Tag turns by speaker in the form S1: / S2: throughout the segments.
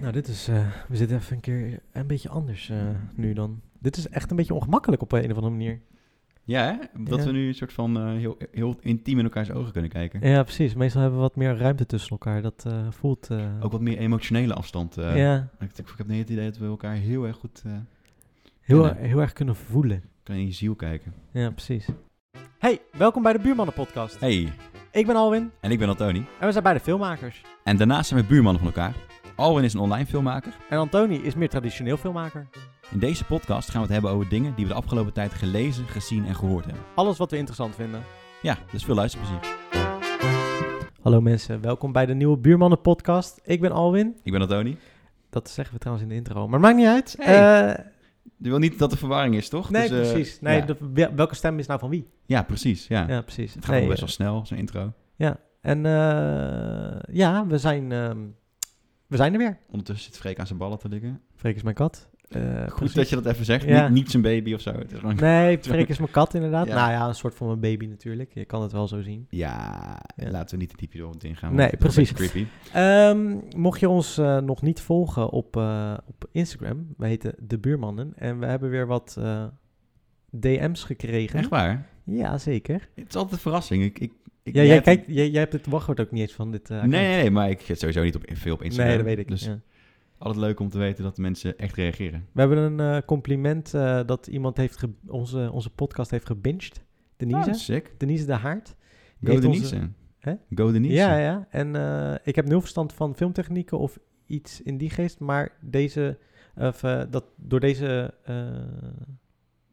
S1: Nou, dit is. eh, we zitten even een keer een beetje anders eh, nu dan. Dit is echt een beetje ongemakkelijk op een of andere manier.
S2: Ja, hè? dat
S1: Ja.
S2: we nu een soort van eh, heel, heel intiem in elkaars ogen kunnen kijken.
S1: Ja, precies. Meestal hebben we wat meer ruimte tussen elkaar. Dat eh, voelt. eh,
S2: Ook wat meer emotionele afstand. eh.
S1: ja,
S2: ik, ik heb niet het idee dat we elkaar heel erg goed eh
S1: heel,
S2: kennen.
S1: heel erg kunnen voelen.
S2: kunnen in je ziel kijken.
S1: Ja, precies. Hey, welkom bij de Buurmannen Podcast.
S2: Hey,
S1: Ik ben Alwin
S2: en ik ben Antoni.
S1: en we zijn beide filmmakers.
S2: En daarnaast zijn we buurmannen van elkaar. Alwin is een online filmmaker.
S1: En Antoni is meer traditioneel filmmaker.
S2: In deze podcast gaan we het hebben over dingen die we de afgelopen tijd gelezen, gezien en gehoord hebben.
S1: Alles wat we interessant vinden.
S2: Ja, dus veel luisterplezier.
S1: Hallo mensen, welkom bij de nieuwe Buurmannen Podcast. Ik ben Alwin.
S2: Ik ben Antoni.
S1: Dat zeggen we trouwens in de intro, maar maakt niet uit.
S2: Hey.
S1: Eh,
S2: Je wil niet dat er verwarring is, toch?
S1: nee,
S2: Dus, eh,
S1: precies. Nee,
S2: ja.
S1: de- wel- welke stem is nou van wie?
S2: ja, precies. Ja.
S1: Ja, precies.
S2: Het gaat
S1: Nee, eh.
S2: wel best wel snel, zo'n intro.
S1: En eh, ja, we zijn, ehm, we zijn er weer.
S2: Ondertussen zit Freek aan zijn ballen te likken.
S1: Freek is mijn kat. Eh,
S2: Goed
S1: precies.
S2: dat je dat even zegt.
S1: Ja.
S2: Niet, niet zijn baby of zo. Het is gewoon-
S1: Nee, Freek is mijn kat inderdaad.
S2: Ja.
S1: Nou ja, een soort van mijn baby natuurlijk. Je kan het wel zo zien.
S2: Ja,
S1: Ja.
S2: laten we niet de typische door ingaan.
S1: Nee,
S2: want dat is een
S1: precies.
S2: beetje Creepy.
S1: Ehm, mocht je ons eh, nog niet volgen op, eh, op Instagram, we heten De Buurmannen. En we hebben weer wat eh, DM's gekregen.
S2: Echt waar?
S1: Ja, zeker.
S2: Het is altijd een verrassing. Ik, ik, ik-
S1: Ja, jij,
S2: hebt-
S1: kijkt, jij, jij hebt het wachtwoord ook niet eens van dit eh,
S2: Nee,
S1: account.
S2: nee, nee, maar ik zit sowieso niet op, veel op Instagram.
S1: Nee, dat weet ik.
S2: Dus
S1: ja.
S2: altijd leuk om te weten dat mensen echt reageren.
S1: We hebben een eh, compliment eh, dat iemand heeft ge- onze, onze podcast heeft gebinged. Denise.
S2: Ah, sick.
S1: Denise de Haart. Die
S2: Go
S1: heeft
S2: Denise.
S1: onze- Hè?
S2: Go Denise.
S1: Ja, ja. En eh, ik heb nul verstand van filmtechnieken of iets in die geest, maar deze, of, eh, dat door deze... eh, even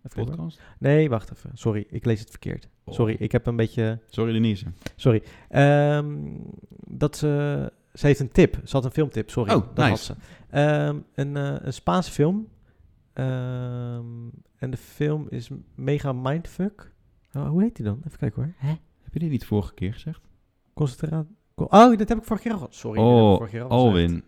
S1: kijken hoor.
S2: Podcast.
S1: nee, wacht even. Sorry, ik lees het verkeerd.
S2: Oh.
S1: Sorry, ik heb een beetje...
S2: Sorry Denise.
S1: Sorry. Ehm, dat ze... Ze heeft een tip. Ze had een filmtip, sorry.
S2: Oh,
S1: dat
S2: nice.
S1: had ze. Ehm, een, eh, een Spaanse film. Ehm, en de film is Mega Mindfuck. Oh, hoe heet die dan? Even kijken hoor.
S2: Heb je dit niet vorige keer gezegd?
S1: Concentraat. Oh, dat heb ik vorige keer al. Sorry. dat heb ik
S2: oh,
S1: vorige keer al gezegd.
S2: Alwin.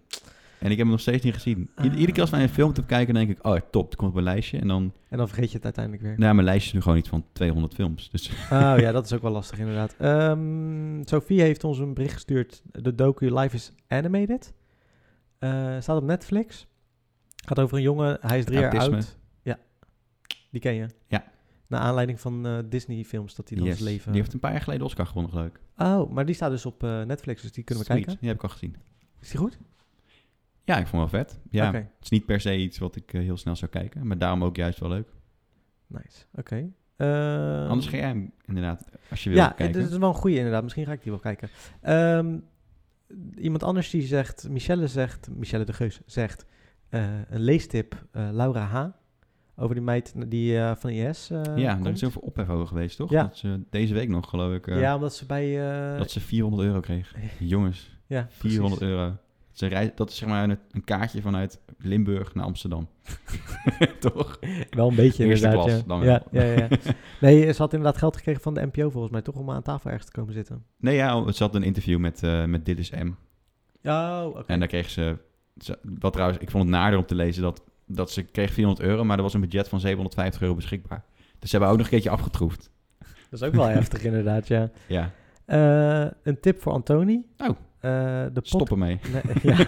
S2: En ik heb hem nog steeds niet gezien. Ieder-
S1: Ah.
S2: Iedere keer als wij een film te kijken, denk ik, oh top, dat komt op mijn lijstje. En dan,
S1: En dan vergeet je het uiteindelijk weer.
S2: nou, mijn lijstje is nu gewoon iets van 200 films. Dus
S1: Oh ja, dat is ook wel lastig inderdaad. Ehm Sophie heeft ons een bericht gestuurd. De docu Life is Animated. Eh, staat op Netflix. Gaat over een jongen. Hij is drie jaar
S2: Autisme.
S1: oud. Ja. Die ken je?
S2: Ja.
S1: Naar aanleiding van eh, Disney films dat hij dan
S2: yes.
S1: zijn leven...
S2: die heeft een paar jaar geleden Oscar gewonnen, geloof ik.
S1: Oh, maar die staat dus op eh, Netflix, dus die kunnen we
S2: Sweet.
S1: kijken.
S2: Die heb ik al gezien.
S1: Is die goed?
S2: Ja, ik vond hem wel vet. Ja,
S1: Oké,
S2: Het is niet per se iets wat ik eh, heel snel zou kijken, maar daarom ook juist wel leuk.
S1: nice. Oké. Ehm,
S2: Anders ga jij hem inderdaad, als je wil,
S1: Ja,
S2: kijken.
S1: dit is wel een goede inderdaad. Misschien ga ik die wel kijken. Ehm, iemand anders die zegt, Michelle zegt, Michelle de Geus zegt, eh, een leestip, eh, Laura H. Over die meid die eh, van IS eh,
S2: ja,
S1: komt.
S2: er is heel veel ophef over geweest, toch?
S1: Ja.
S2: Dat ze deze week nog, geloof ik, eh,
S1: ja, omdat ze bij... eh,
S2: dat ze 400 euro kreeg. Jongens,
S1: ja,
S2: 400
S1: precies.
S2: euro. Ze reis, dat is zeg maar een, een kaartje vanuit Limburg naar Amsterdam. toch?
S1: Wel een beetje
S2: Eerste
S1: inderdaad,
S2: klas,
S1: ja.
S2: dan
S1: ja,
S2: wel.
S1: ja, ja, ja. Nee, ze had inderdaad geld gekregen van de NPO volgens mij, toch? Om aan tafel ergens te komen zitten.
S2: Nee, ja, ze had een interview met, eh met Dillis M.
S1: Oh, oké.
S2: En daar kreeg ze, ze- wat trouwens, ik vond het naarder om te lezen, dat, dat ze kreeg 400 euro, maar er was een budget van 750 euro beschikbaar. Dus ze hebben ook nog een keertje afgetroefd.
S1: Dat is ook wel heftig inderdaad, ja.
S2: Ja,
S1: Eh, een tip voor Antoni.
S2: Oh.
S1: Eh, de pod-
S2: stop ermee.
S1: Nee, ja.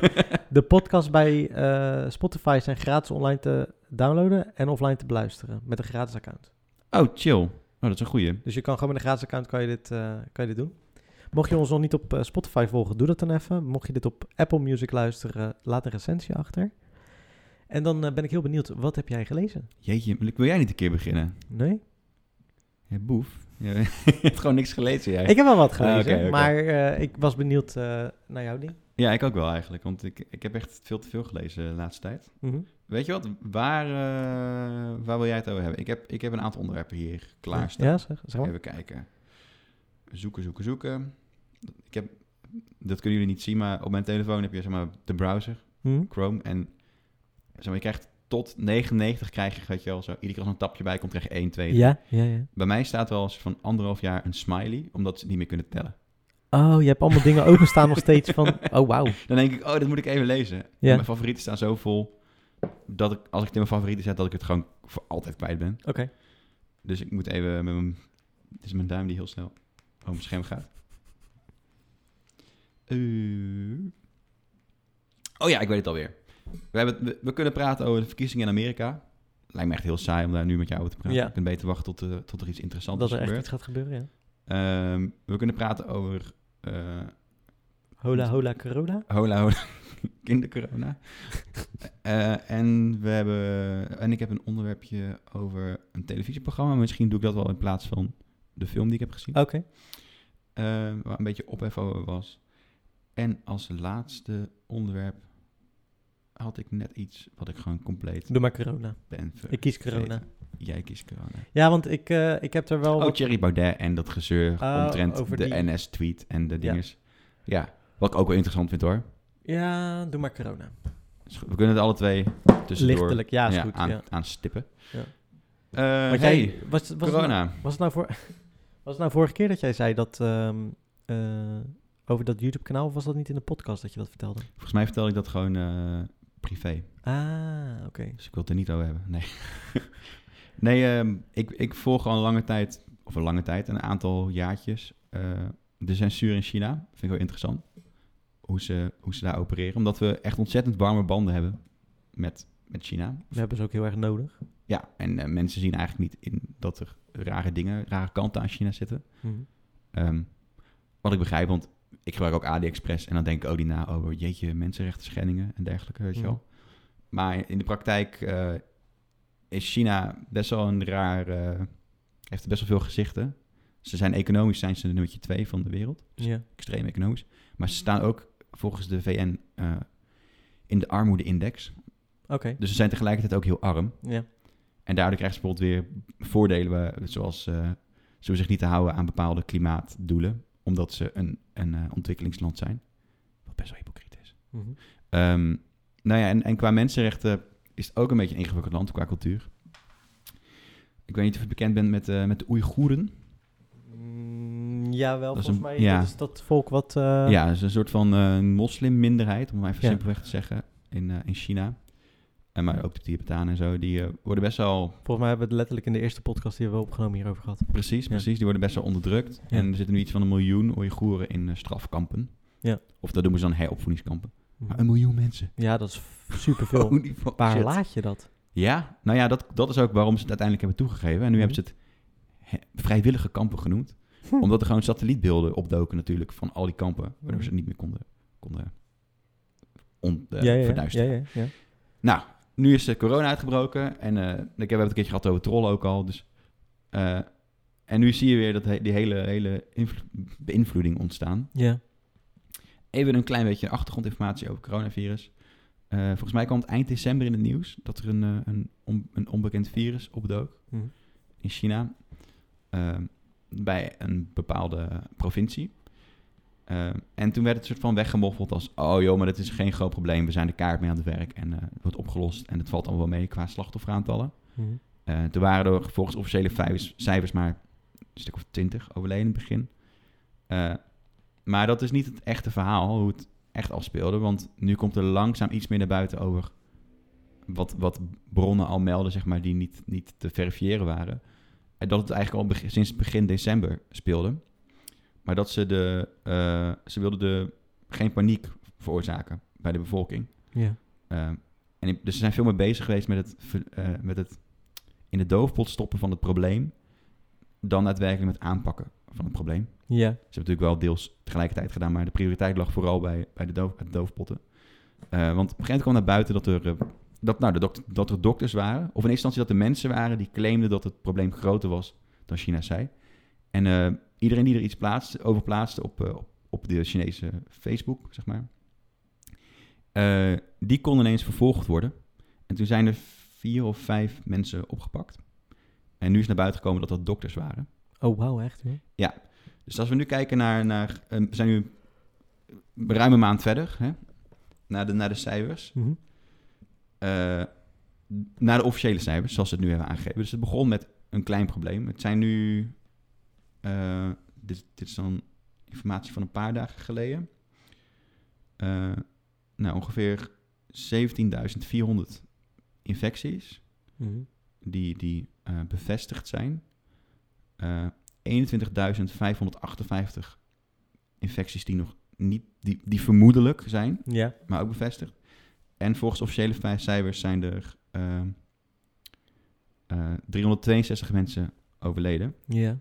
S1: De podcast bij eh, Spotify zijn gratis online te downloaden en offline te beluisteren met een gratis account.
S2: Oh, chill. Oh, dat is een goeie.
S1: Dus je kan gewoon met een gratis account kan je dit, eh, kan je dit doen. Mocht je ons nog niet op eh, Spotify volgen, doe dat dan even. Mocht je dit op Apple Music luisteren, laat een recensie achter. En dan eh, ben ik heel benieuwd, wat heb jij gelezen?
S2: Jeetje, wil jij niet een keer beginnen?
S1: Nee?
S2: Hé, boef. Ja, je hebt gewoon niks gelezen, jij.
S1: Ik heb wel wat gelezen,
S2: Ah, oké, oké.
S1: maar eh, ik was benieuwd eh, naar jouw ding.
S2: Ja, ik ook wel eigenlijk, want ik, ik heb echt veel te veel gelezen de laatste tijd.
S1: Mhm.
S2: Weet je wat, waar, eh, waar wil jij het over hebben? Ik heb, ik heb een aantal onderwerpen hier klaarstaan.
S1: Ja, zeg, zeg maar.
S2: Even kijken. Zoeken, zoeken, zoeken. Ik heb, dat kunnen jullie niet zien, maar op mijn telefoon heb je zeg maar, de browser,
S1: Mhm.
S2: Chrome. En zeg maar, je krijgt tot 99 krijg je, weet je wel, zo, iedere keer als er een tapje bij komt, krijg je 1, 2.
S1: Ja, ja, ja.
S2: Bij mij staat wel eens van anderhalf jaar een smiley, omdat ze het niet meer kunnen tellen.
S1: Oh, je hebt allemaal dingen openstaan nog steeds van, oh wauw.
S2: Dan denk ik, oh, dat moet ik even lezen. En
S1: Ja.
S2: Mijn favorieten staan zo vol dat ik, als ik het in mijn favorieten zet, dat ik het gewoon voor altijd kwijt ben.
S1: Oké.
S2: Dus ik moet even met mijn... Het is mijn duim die heel snel over mijn scherm gaat. Eh. Oh ja, ik weet het alweer. We, hebben, het- we, we kunnen praten over de verkiezingen in Amerika. Lijkt me echt heel saai om daar nu met jou over te praten.
S1: Ja.
S2: Je kunt beter wachten tot, eh, tot er iets interessants
S1: dat er echt
S2: gebeurt.
S1: iets gaat gebeuren, ja.
S2: Ehm, we kunnen praten over eh,
S1: Hola, hola, Corolla.
S2: hola hola kindercorona. Eh, en, we hebben, en ik heb een onderwerpje over een televisieprogramma. Misschien doe ik dat wel in plaats van de film die ik heb gezien.
S1: Oké.
S2: eh, waar een beetje ophef over was. En als laatste onderwerp had ik net iets wat ik gewoon compleet
S1: Doe maar corona.
S2: ben
S1: Ik kies corona.
S2: Jij kiest corona.
S1: Ja, want ik, eh, ik heb er wel...
S2: Oh,
S1: wat-
S2: Thierry Baudet en dat gezeur
S1: Ah,
S2: omtrent
S1: over
S2: de
S1: die-
S2: NS-tweet en de
S1: Ja.
S2: dinges. Ja. wat ik ook wel interessant vind hoor.
S1: Ja, doe maar corona.
S2: Is goed. We kunnen het alle twee tussendoor
S1: Lichtelijk, ja, is goed.
S2: aan,
S1: ja.
S2: aanstippen.
S1: Ja.
S2: Eh,
S1: Want
S2: hey,
S1: jij, was, was, het nou,
S2: corona.
S1: was, het nou voor, was het nou vorige keer dat jij zei dat... ehm, eh, over dat YouTube-kanaal, of was dat niet in de podcast dat je dat vertelde?
S2: Volgens mij vertel ik dat gewoon eh, privé.
S1: Ah, oké.
S2: Dus ik wil het er niet over hebben. Nee, nee ehm, ik, ik volg al een lange tijd, of een lange tijd, een aantal jaartjes, eh, de censuur in China. Vind ik wel interessant. Hoe ze, hoe ze daar opereren. Omdat we echt ontzettend warme banden hebben met, met China.
S1: We hebben ze ook heel erg nodig.
S2: Ja, en eh, mensen zien eigenlijk niet in dat er rare dingen, rare kanten aan China zitten.
S1: Mhm.
S2: Ehm, wat ik begrijp, want ik gebruik ook AliExpress en dan denk ik ook niet na over jeetje, mensenrechten schendingen en dergelijke, weet je
S1: Mhm.
S2: wel. Maar in de praktijk eh, is China best wel een raar, eh, heeft best wel veel gezichten. Ze zijn economisch zijn ze de nummer twee van de wereld,
S1: Ja.
S2: extreem economisch. Maar ze staan ook volgens de VN eh, in de armoede-index.
S1: Oké.
S2: Dus ze zijn tegelijkertijd ook heel arm.
S1: Ja.
S2: En daardoor krijgen ze bijvoorbeeld weer voordelen, eh, zoals eh, ze hoeven zich niet te houden aan bepaalde klimaatdoelen, omdat ze een, een eh, ontwikkelingsland zijn. Wat best wel hypocriet is.
S1: Mhm.
S2: Ehm, nou ja, en, en qua mensenrechten is het ook een beetje een ingewikkeld land qua cultuur. Ik weet niet of je bekend bent met, eh, met de Oeigoeren.
S1: Mm, ja, wel.
S2: Dat is
S1: Volgens
S2: een-
S1: mij
S2: ja.
S1: dat is dat volk wat... eh,
S2: ja, dat is een soort van eh moslimminderheid, om maar even
S1: Ja.
S2: simpelweg te zeggen, in, eh, in China. En maar ook de Tibetanen en zo, die eh, worden best wel
S1: Volgens mij hebben we het letterlijk in de eerste podcast die we hebben opgenomen hierover gehad.
S2: Precies, precies. Die worden best wel onderdrukt.
S1: Ja.
S2: En er zitten nu iets van een miljoen Oeigoeren in eh, strafkampen.
S1: Ja.
S2: Of dat noemen ze dan heropvoedingskampen. Maar een miljoen mensen.
S1: Ja, dat is f- superveel.
S2: Mhm. Oh, die fuck
S1: Waar
S2: shit.
S1: laat je dat?
S2: Ja, nou ja, dat, dat is ook waarom ze het uiteindelijk hebben toegegeven. En nu
S1: Mhm. Hm.
S2: hebben ze het he- vrijwillige kampen genoemd. Omdat er gewoon satellietbeelden opdoken natuurlijk van al die kampen. Waardoor ze het niet meer konden, konden on, eh,
S1: ja, ja, ja,
S2: verduisteren.
S1: ja, ja.
S2: Nou, nu is eh, corona uitgebroken en eh, ik heb, we hebben het een keertje gehad over trollen ook al. Dus, eh, en nu zie je weer dat he- die hele, hele invlo- beïnvloeding ontstaan.
S1: Ja.
S2: Even een klein beetje achtergrondinformatie over coronavirus. Eh, volgens mij kwam het eind december in het nieuws dat er een, eh, een, on- een onbekend virus opdook
S1: Mhm.
S2: in China eh, bij een bepaalde provincie. Eh, en toen werd het soort van weggemoffeld als... oh joh, maar dat is geen groot probleem. We zijn de kaart mee aan het werk en eh, het wordt opgelost... en het valt allemaal wel mee qua slachtofferaantallen.
S1: Mhm.
S2: Eh er waren er volgens officiële cijfers, cijfers maar een stuk of twintig overleden in het begin. Eh, maar dat is niet het echte verhaal, hoe het echt afspeelde. Want nu komt er langzaam iets meer naar buiten over wat, wat bronnen al melden, zeg maar, die niet, niet te verifiëren waren. En dat het eigenlijk al beg- sinds begin december speelde. Maar dat ze de, eh, ze wilden de, geen paniek veroorzaken bij de bevolking.
S1: Ja.
S2: Eh, en ik- dus ze zijn veel meer bezig geweest met het, ver- eh, met het in de doofpot stoppen van het probleem. dan daadwerkelijk met aanpakken van het probleem.
S1: Ja.
S2: Ze hebben natuurlijk wel deels tegelijkertijd gedaan, maar de prioriteit lag vooral bij, bij de doof, bij de doofpotten. Eh, want op een gegeven moment kwam naar buiten dat er, eh, dat, nou, de dok- dat er dokters waren, of in eerste instantie dat er mensen waren die claimden dat het probleem groter was dan China zei. En eh, iedereen die er iets plaatste, over plaatste op, eh, op, op de Chinese Facebook, zeg maar, eh, die kon ineens vervolgd worden. En toen zijn er vier of vijf mensen opgepakt. En nu is naar buiten gekomen dat dat dokters waren.
S1: Oh, wauw, echt hoor.
S2: Dus als we nu kijken naar, naar eh, we zijn nu ruim een maand verder, hè? Naar, de, naar de cijfers,
S1: Mhm.
S2: Eh, naar de officiële cijfers, zoals ze het nu hebben aangegeven. Dus het begon met een klein probleem. Het zijn nu, eh, dit, dit is dan informatie van een paar dagen geleden, Eh, nou ongeveer 17.400 infecties
S1: Mhm.
S2: die, die eh, bevestigd zijn. Eh, 21.558 infecties die nog niet, die, die vermoedelijk zijn,
S1: Ja.
S2: maar ook bevestigd. En volgens officiële fi- cijfers zijn er ehm, eh, 362 mensen overleden.
S1: Ja.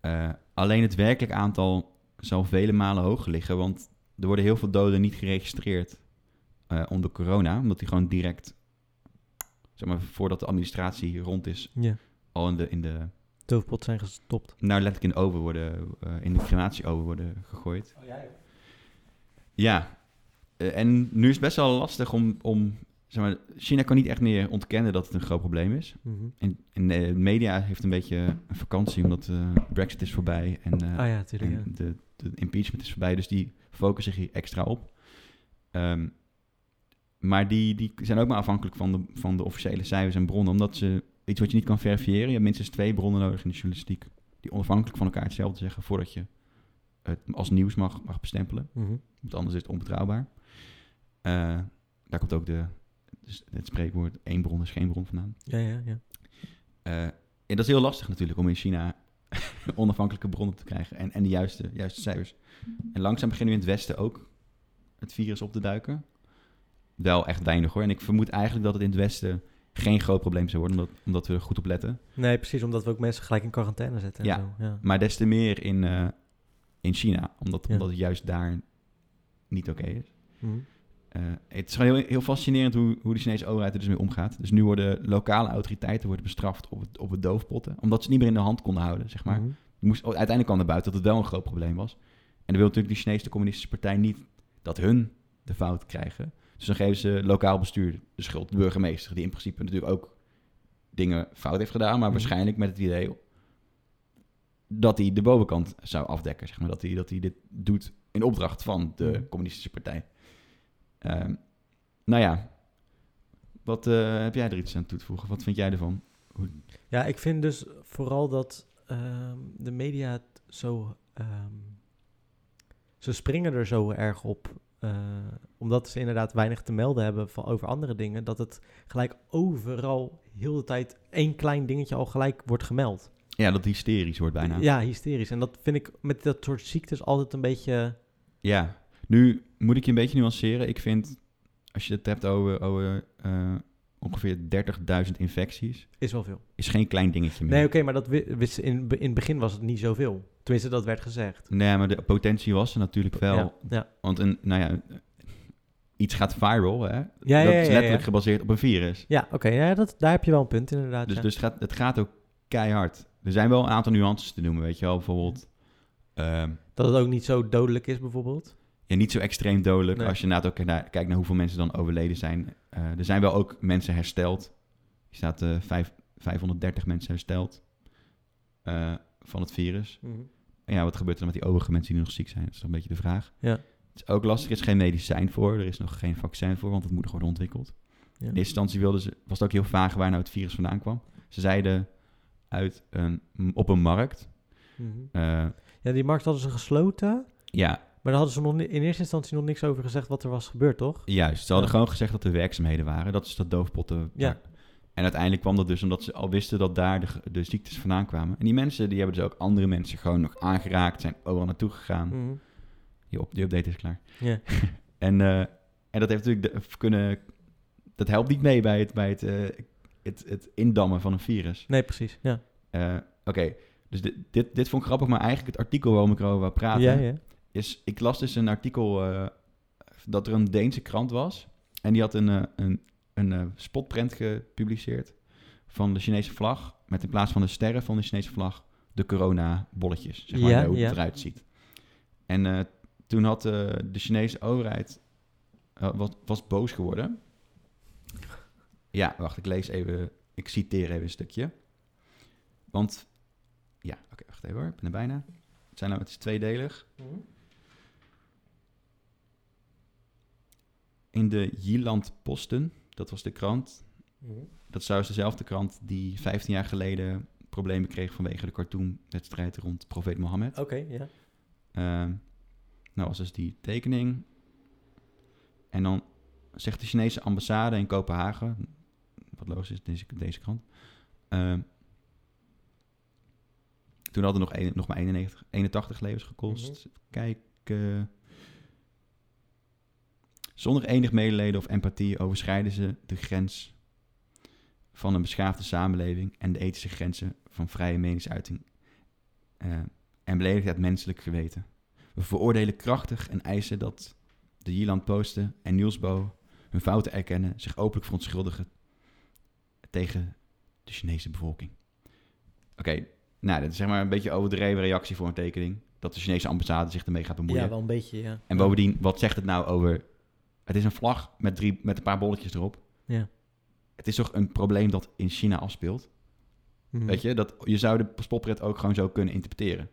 S2: Eh, alleen het werkelijk aantal zal vele malen hoger liggen, want er worden heel veel doden niet geregistreerd eh, onder corona, omdat die gewoon direct, zeg maar, voordat de administratie rond is,
S1: Ja.
S2: al in de, in de
S1: Doofpot zijn gestopt.
S2: nou letterlijk in de oven worden, eh, in de crematie oven worden gegooid.
S1: Oh, ja,
S2: Ja, Eh, en nu is het best wel lastig om, om, zeg maar, China kan niet echt meer ontkennen dat het een groot probleem is.
S1: Mhm.
S2: En, en eh, de media heeft een beetje een vakantie, omdat eh, Brexit is voorbij en eh,
S1: Ah ja, natuurlijk. Ja.
S2: En de, de impeachment is voorbij, dus die focussen zich hier extra op. Ehm, maar die, die zijn ook maar afhankelijk van de, van de officiële cijfers en bronnen, omdat ze iets wat je niet kan verifiëren. Je hebt minstens twee bronnen nodig in de journalistiek, die onafhankelijk van elkaar hetzelfde zeggen voordat je het als nieuws mag, mag bestempelen.
S1: Mhm.
S2: Want anders is het onbetrouwbaar. Eh, daar komt ook de, dus het spreekwoord één bron is geen bron vandaan.
S1: ja, ja, ja.
S2: Eh, en dat is heel lastig natuurlijk om in China onafhankelijke bronnen te krijgen en, en de juiste, juiste cijfers. En langzaam beginnen we in het Westen ook het virus op te duiken. Wel echt weinig hoor. En ik vermoed eigenlijk dat het in het Westen geen groot probleem zou worden, omdat, omdat we er goed op letten.
S1: Nee, precies, omdat we ook mensen gelijk in quarantaine zetten. En
S2: Ja.
S1: zo. ja.
S2: Maar des te meer in, eh, in China, omdat,
S1: Ja.
S2: omdat het juist daar niet oké is.
S1: Mhm.
S2: Eh, het is gewoon heel, heel fascinerend hoe, hoe de Chinese overheid er dus mee omgaat. Dus nu worden lokale autoriteiten worden bestraft op het, op het doofpotten, omdat ze het niet meer in de hand konden houden, zeg maar.
S1: Mhm.
S2: Je moest, oh, uiteindelijk kwam naar buiten dat het wel een groot probleem was. En dan wil natuurlijk de Chinese Communistische Partij niet dat hun de fout krijgen. Dus dan geven ze lokaal bestuur de schuld, de burgemeester, die in principe natuurlijk ook dingen fout heeft gedaan, maar
S1: Mhm.
S2: waarschijnlijk met het idee dat hij de bovenkant zou afdekken. Zeg maar. dat, hij, dat hij dit doet in opdracht van de
S1: Mhm.
S2: Communistische Partij. Ehm, nou ja, wat eh, heb jij er iets aan toe te voegen? Wat vind jij ervan?
S1: Ja, ik vind dus vooral dat ehm, de media het zo. ehm, ze springen er zo erg op. eh, omdat ze inderdaad weinig te melden hebben van, over andere dingen. Dat het gelijk overal heel de tijd één klein dingetje al gelijk wordt gemeld.
S2: Ja, dat hysterisch wordt bijna.
S1: Ja, hysterisch. En dat vind ik met dat soort ziektes altijd een beetje.
S2: Ja, nu moet ik je een beetje nuanceren. Ik vind, als je het hebt over, over eh, ongeveer 30.000 infecties,
S1: Is wel veel.
S2: is geen klein dingetje meer.
S1: Nee, oké, maar dat wi- wist ze in, in het begin was het niet zoveel. Tenminste, dat werd gezegd.
S2: Nee, maar de potentie was er natuurlijk wel.
S1: Ja, ja.
S2: Want een, nou ja, iets gaat viral, hè?
S1: Ja,
S2: dat
S1: ja, ja,
S2: is
S1: ja,
S2: letterlijk
S1: ja.
S2: gebaseerd op een virus.
S1: Ja, oké, ja, dat- daar heb je wel een punt inderdaad.
S2: Dus,
S1: ja.
S2: dus het, gaat, het gaat ook keihard. Er zijn wel een aantal nuances te noemen, weet je wel. Bijvoorbeeld, ehm,
S1: Dat het ook niet zo dodelijk is, bijvoorbeeld.
S2: ja, niet zo extreem dodelijk
S1: Nee.
S2: als je inderdaad ook naar, kijkt naar hoeveel mensen dan overleden zijn. Eh, er zijn wel ook mensen hersteld. Er staat eh, vijf- 530 mensen hersteld eh, van het virus.
S1: Mhm.
S2: En ja, wat gebeurt er dan met die overige mensen die nog ziek zijn? Dat is toch een beetje de vraag.
S1: Ja.
S2: Het is ook lastig, er is geen medicijn voor, er is nog geen vaccin voor, want het moet nog worden ontwikkeld.
S1: Ja.
S2: In eerste instantie wilden ze, was het ook heel vaag waar nou het virus vandaan kwam. Ze zeiden uit een, op een markt.
S1: Mhm.
S2: Eh,
S1: Ja, die markt hadden ze gesloten.
S2: ja,
S1: Maar daar hadden ze nog ni- in eerste instantie nog niks over gezegd wat er was gebeurd, toch?
S2: Juist, ze hadden
S1: Ja.
S2: gewoon gezegd dat er werkzaamheden waren. Dat is dat doofpotten.
S1: Ja.
S2: En uiteindelijk kwam dat dus omdat ze al wisten dat daar de, ge- de ziektes vandaan kwamen. En die mensen, die hebben dus ook andere mensen gewoon nog aangeraakt, zijn overal naartoe gegaan.
S1: Mhm.
S2: Die, op, die update is klaar.
S1: Ja.
S2: en, eh, en dat heeft natuurlijk de- kunnen... Dat helpt niet mee bij het, bij het, eh, het, het indammen van een virus.
S1: Nee, precies. Ja.
S2: Eh, Oké, dus dit, dit, dit vond ik grappig, maar eigenlijk het artikel waarom ik erover wou praten
S1: ja, ja.
S2: is, ik las dus een artikel eh, dat er een Deense krant was. En die had een, eh, een, een eh, spotprint gepubliceerd van de Chinese vlag. Met in plaats van de sterren van de Chinese vlag de corona-bolletjes. Zeg maar
S1: Ja,
S2: hoe
S1: ja.
S2: het eruit ziet. En eh, toen had eh, de Chinese overheid eh, was, was boos geworden. Ja, wacht, ik lees even. Ik citeer even een stukje. Want, ja, oké, wacht even hoor. Ik ben er bijna. Het, zijn nou, het is tweedelig. in de Jieland Posten, dat was de krant.
S1: Mhm.
S2: Dat is trouwens dezelfde krant die 15 jaar geleden problemen kreeg vanwege de cartoonwedstrijd rond profeet Mohammed.
S1: Oké, ja.
S2: Ehm, nou was dus die tekening. En dan zegt de Chinese ambassade in Kopenhagen, wat logisch is, deze, deze krant. ehm, toen hadden nog, een- nog maar 91, 81 levens gekost. Kijk. eh, Zonder enig medeleden of empathie overschrijden ze de grens van een beschaafde samenleving en de ethische grenzen van vrije meningsuiting eh, en beledigt het menselijk geweten. We veroordelen krachtig en eisen dat de Jiland Posten en Nielsbo hun fouten erkennen, zich openlijk verontschuldigen tegen de Chinese bevolking. Oké, nou, dat is zeg maar een beetje overdreven reactie voor een tekening. Dat de Chinese ambassade zich ermee gaat bemoeien.
S1: Ja, wel een beetje, ja.
S2: En bovendien, wat zegt het nou over... Het is een vlag met, drie, met een paar bolletjes erop.
S1: Ja.
S2: Het is toch een probleem dat in China afspeelt?
S1: Mhm.
S2: Weet je, dat, je zou de spotprint ook gewoon zo kunnen interpreteren.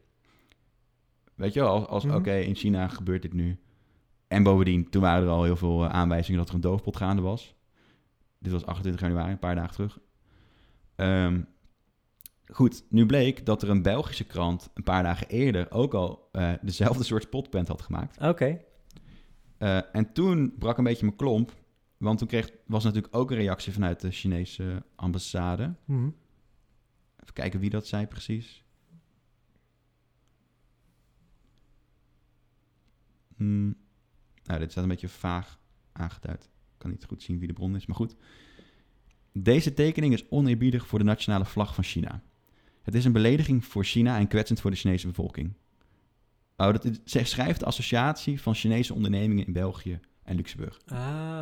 S2: Weet je, wel, als, als
S1: Mhm.
S2: oké, in China gebeurt dit nu. En bovendien, toen waren er al heel veel eh, aanwijzingen dat er een doofpot gaande was. Dit was 28 januari, een paar dagen terug. Ehm, goed, nu bleek dat er een Belgische krant een paar dagen eerder ook al eh, dezelfde soort spotprint had gemaakt.
S1: Oké.
S2: Eh, en toen brak een beetje mijn klomp. Want toen kreeg, was natuurlijk ook een reactie vanuit de Chinese eh, ambassade.
S1: Mhm.
S2: Even kijken wie dat zei precies. Hmm. Nou, dit staat een beetje vaag aangeduid. Ik kan niet goed zien wie de bron is, maar goed. Deze tekening is oneerbiedig voor de nationale vlag van China. Het is een belediging voor China en kwetsend voor de Chinese bevolking. Oh, dat is, zij schrijft de associatie van Chinese ondernemingen in België en Luxemburg.
S1: Oh,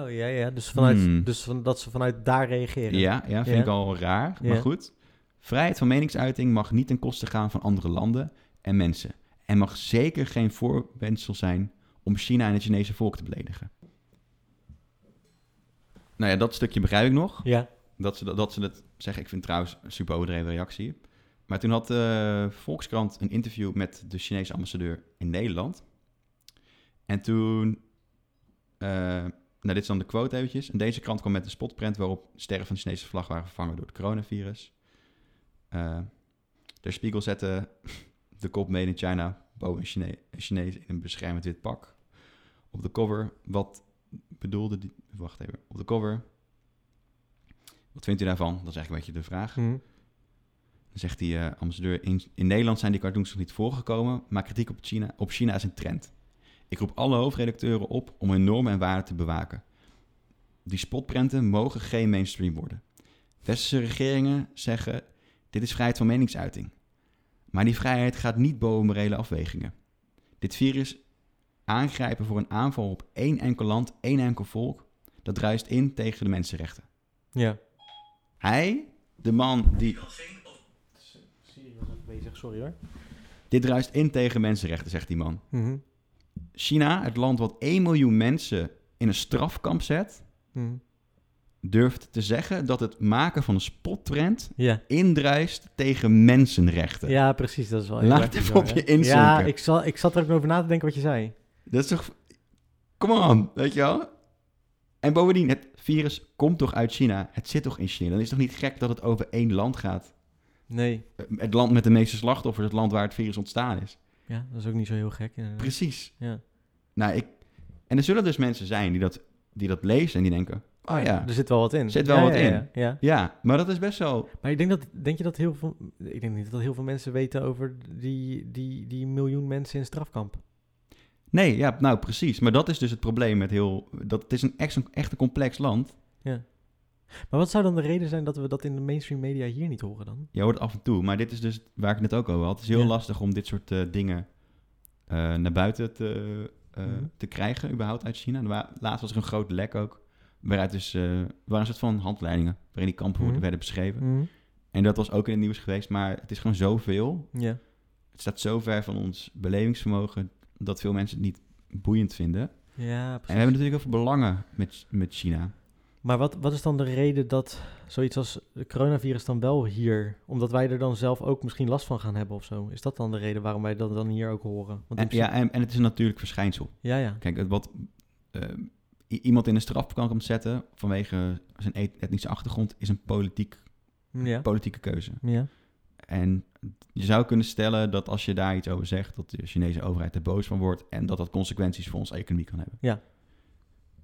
S1: ja, ja. Dus, vanuit,
S2: Hmm.
S1: dus van, dat ze vanuit daar reageren.
S2: Ja, ja vind
S1: Ja.
S2: ik al raar, maar
S1: Ja.
S2: goed. Vrijheid van meningsuiting mag niet ten koste gaan van andere landen en mensen. En mag zeker geen voorwendsel zijn om China en het Chinese volk te beledigen. Nou ja, dat stukje begrijp ik nog.
S1: Ja.
S2: Dat ze dat, dat ze dat zeggen. Ik vind het trouwens een super overdreven reactie. Maar toen had eh Volkskrant een interview met de Chinese ambassadeur in Nederland. En toen... eh, nou, dit is dan de quote eventjes. En deze krant kwam met een spotprint waarop sterren van de Chinese vlag waren vervangen door het coronavirus. Eh de spiegel zette de kop Made in China boven een, Chine- een Chinees in een beschermend wit pak. Op de cover, wat bedoelde die... Wacht even. Op de cover... Wat vindt u daarvan? Dat is eigenlijk een beetje de vraag.
S1: Mhm.
S2: Dan zegt die eh, ambassadeur, in, in Nederland zijn die cartoons nog niet voorgekomen, maar kritiek op China, op China is een trend. Ik roep alle hoofdredacteuren op om hun normen en waarden te bewaken. Die spotprenten mogen geen mainstream worden. Westerse regeringen zeggen, dit is vrijheid van meningsuiting. Maar die vrijheid gaat niet boven morele afwegingen. Dit virus aangrijpen voor een aanval op één enkel land, één enkel volk, dat druist in tegen de mensenrechten.
S1: Ja.
S2: Hij, de man die
S1: Siri was ook bezig, sorry hoor.
S2: Dit druist in tegen mensenrechten, zegt die man.
S1: Mhm.
S2: China, het land wat 1 miljoen mensen in een strafkamp zet,
S1: Mhm.
S2: durft te zeggen dat het maken van een spottrend
S1: Ja.
S2: indruist tegen mensenrechten.
S1: ja, precies. Dat is wel heel
S2: Laat
S1: erg
S2: het
S1: bizar,
S2: op je
S1: hè?
S2: inzinken.
S1: Ja, ik, zal, ik zat er ook nog over na te denken wat je zei.
S2: Dat is toch. Come on, weet je wel? En bovendien, het virus komt toch uit China? Het zit toch in China? Dan is het toch niet gek dat het over één land gaat?
S1: Nee.
S2: Het land met de meeste slachtoffers, het land waar het virus ontstaan is.
S1: Ja, dat is ook niet zo heel gek. inderdaad.
S2: Precies.
S1: Ja.
S2: Nou, ik... En er zullen dus mensen zijn die dat, die dat lezen en die denken: oh ja,
S1: Er zit wel wat in.
S2: Zit wel
S1: Ja,
S2: wat
S1: ja,
S2: in.
S1: Ja, ja.
S2: Ja, maar dat is best wel.
S1: Maar ik denk, dat, denk je dat heel veel... Ik denk niet dat heel veel mensen weten over die, die, die miljoen mensen in strafkamp.
S2: Nee, ja, nou precies. Maar dat is dus het probleem met heel. Dat, het is een echt, een echt een complex land.
S1: Maar wat zou dan de reden zijn dat we dat in de mainstream media hier niet horen dan?
S2: Je hoort het af en toe. Maar dit is dus waar ik het net ook over had. Het is heel
S1: Ja.
S2: lastig om dit soort eh, dingen eh, naar buiten te, eh,
S1: Mhm.
S2: te krijgen, überhaupt uit China. Er wa- Laatst was er een groot lek ook. Waaruit dus. eh, waren een soort van handleidingen. waarin die kampen
S1: Mhm.
S2: werden beschreven. En dat was ook in het nieuws geweest. Maar het is gewoon zoveel.
S1: Ja.
S2: Het staat zo ver van ons belevingsvermogen. dat veel mensen het niet boeiend vinden.
S1: Ja, precies.
S2: En we hebben dus- natuurlijk heel veel belangen met, met China.
S1: Maar wat, wat is dan de reden dat zoiets als het coronavirus dan wel hier... Omdat wij er dan zelf ook misschien last van gaan hebben of zo? Is dat dan de reden waarom wij dat dan hier ook horen? Want in
S2: En, ja, en, en het is een natuurlijk verschijnsel.
S1: principe- ja, ja.
S2: Kijk, het wat eh, i- iemand in een strafkamp komt zetten vanwege zijn et- etnische achtergrond is een politiek,
S1: Ja.
S2: politieke keuze.
S1: Ja.
S2: En je zou kunnen stellen dat als je daar iets over zegt, dat de Chinese overheid er boos van wordt en dat dat consequenties voor onze economie kan hebben.
S1: Ja.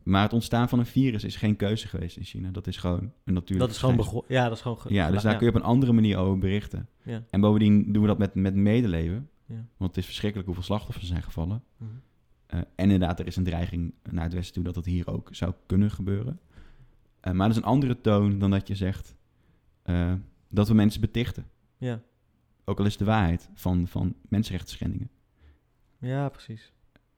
S2: Maar het ontstaan van een virus is geen keuze geweest in China. Dat is gewoon een natuurlijk
S1: Dat is gewoon
S2: verschijnsel.
S1: begonnen. Ja, dat is gewoon... ge-
S2: Ja, dus daar
S1: ja.
S2: kun je op een andere manier over berichten.
S1: Ja.
S2: En bovendien doen we dat met, met medeleven.
S1: Ja.
S2: Want het is verschrikkelijk hoeveel slachtoffers er zijn gevallen.
S1: Mhm.
S2: Eh, Eh, en inderdaad, er is een dreiging naar het westen toe dat dat hier ook zou kunnen gebeuren. Eh, maar dat is een andere toon dan dat je zegt eh, dat we mensen betichten.
S1: Ja.
S2: Ook al is het de waarheid van, van mensenrechtsschendingen.
S1: ja, precies.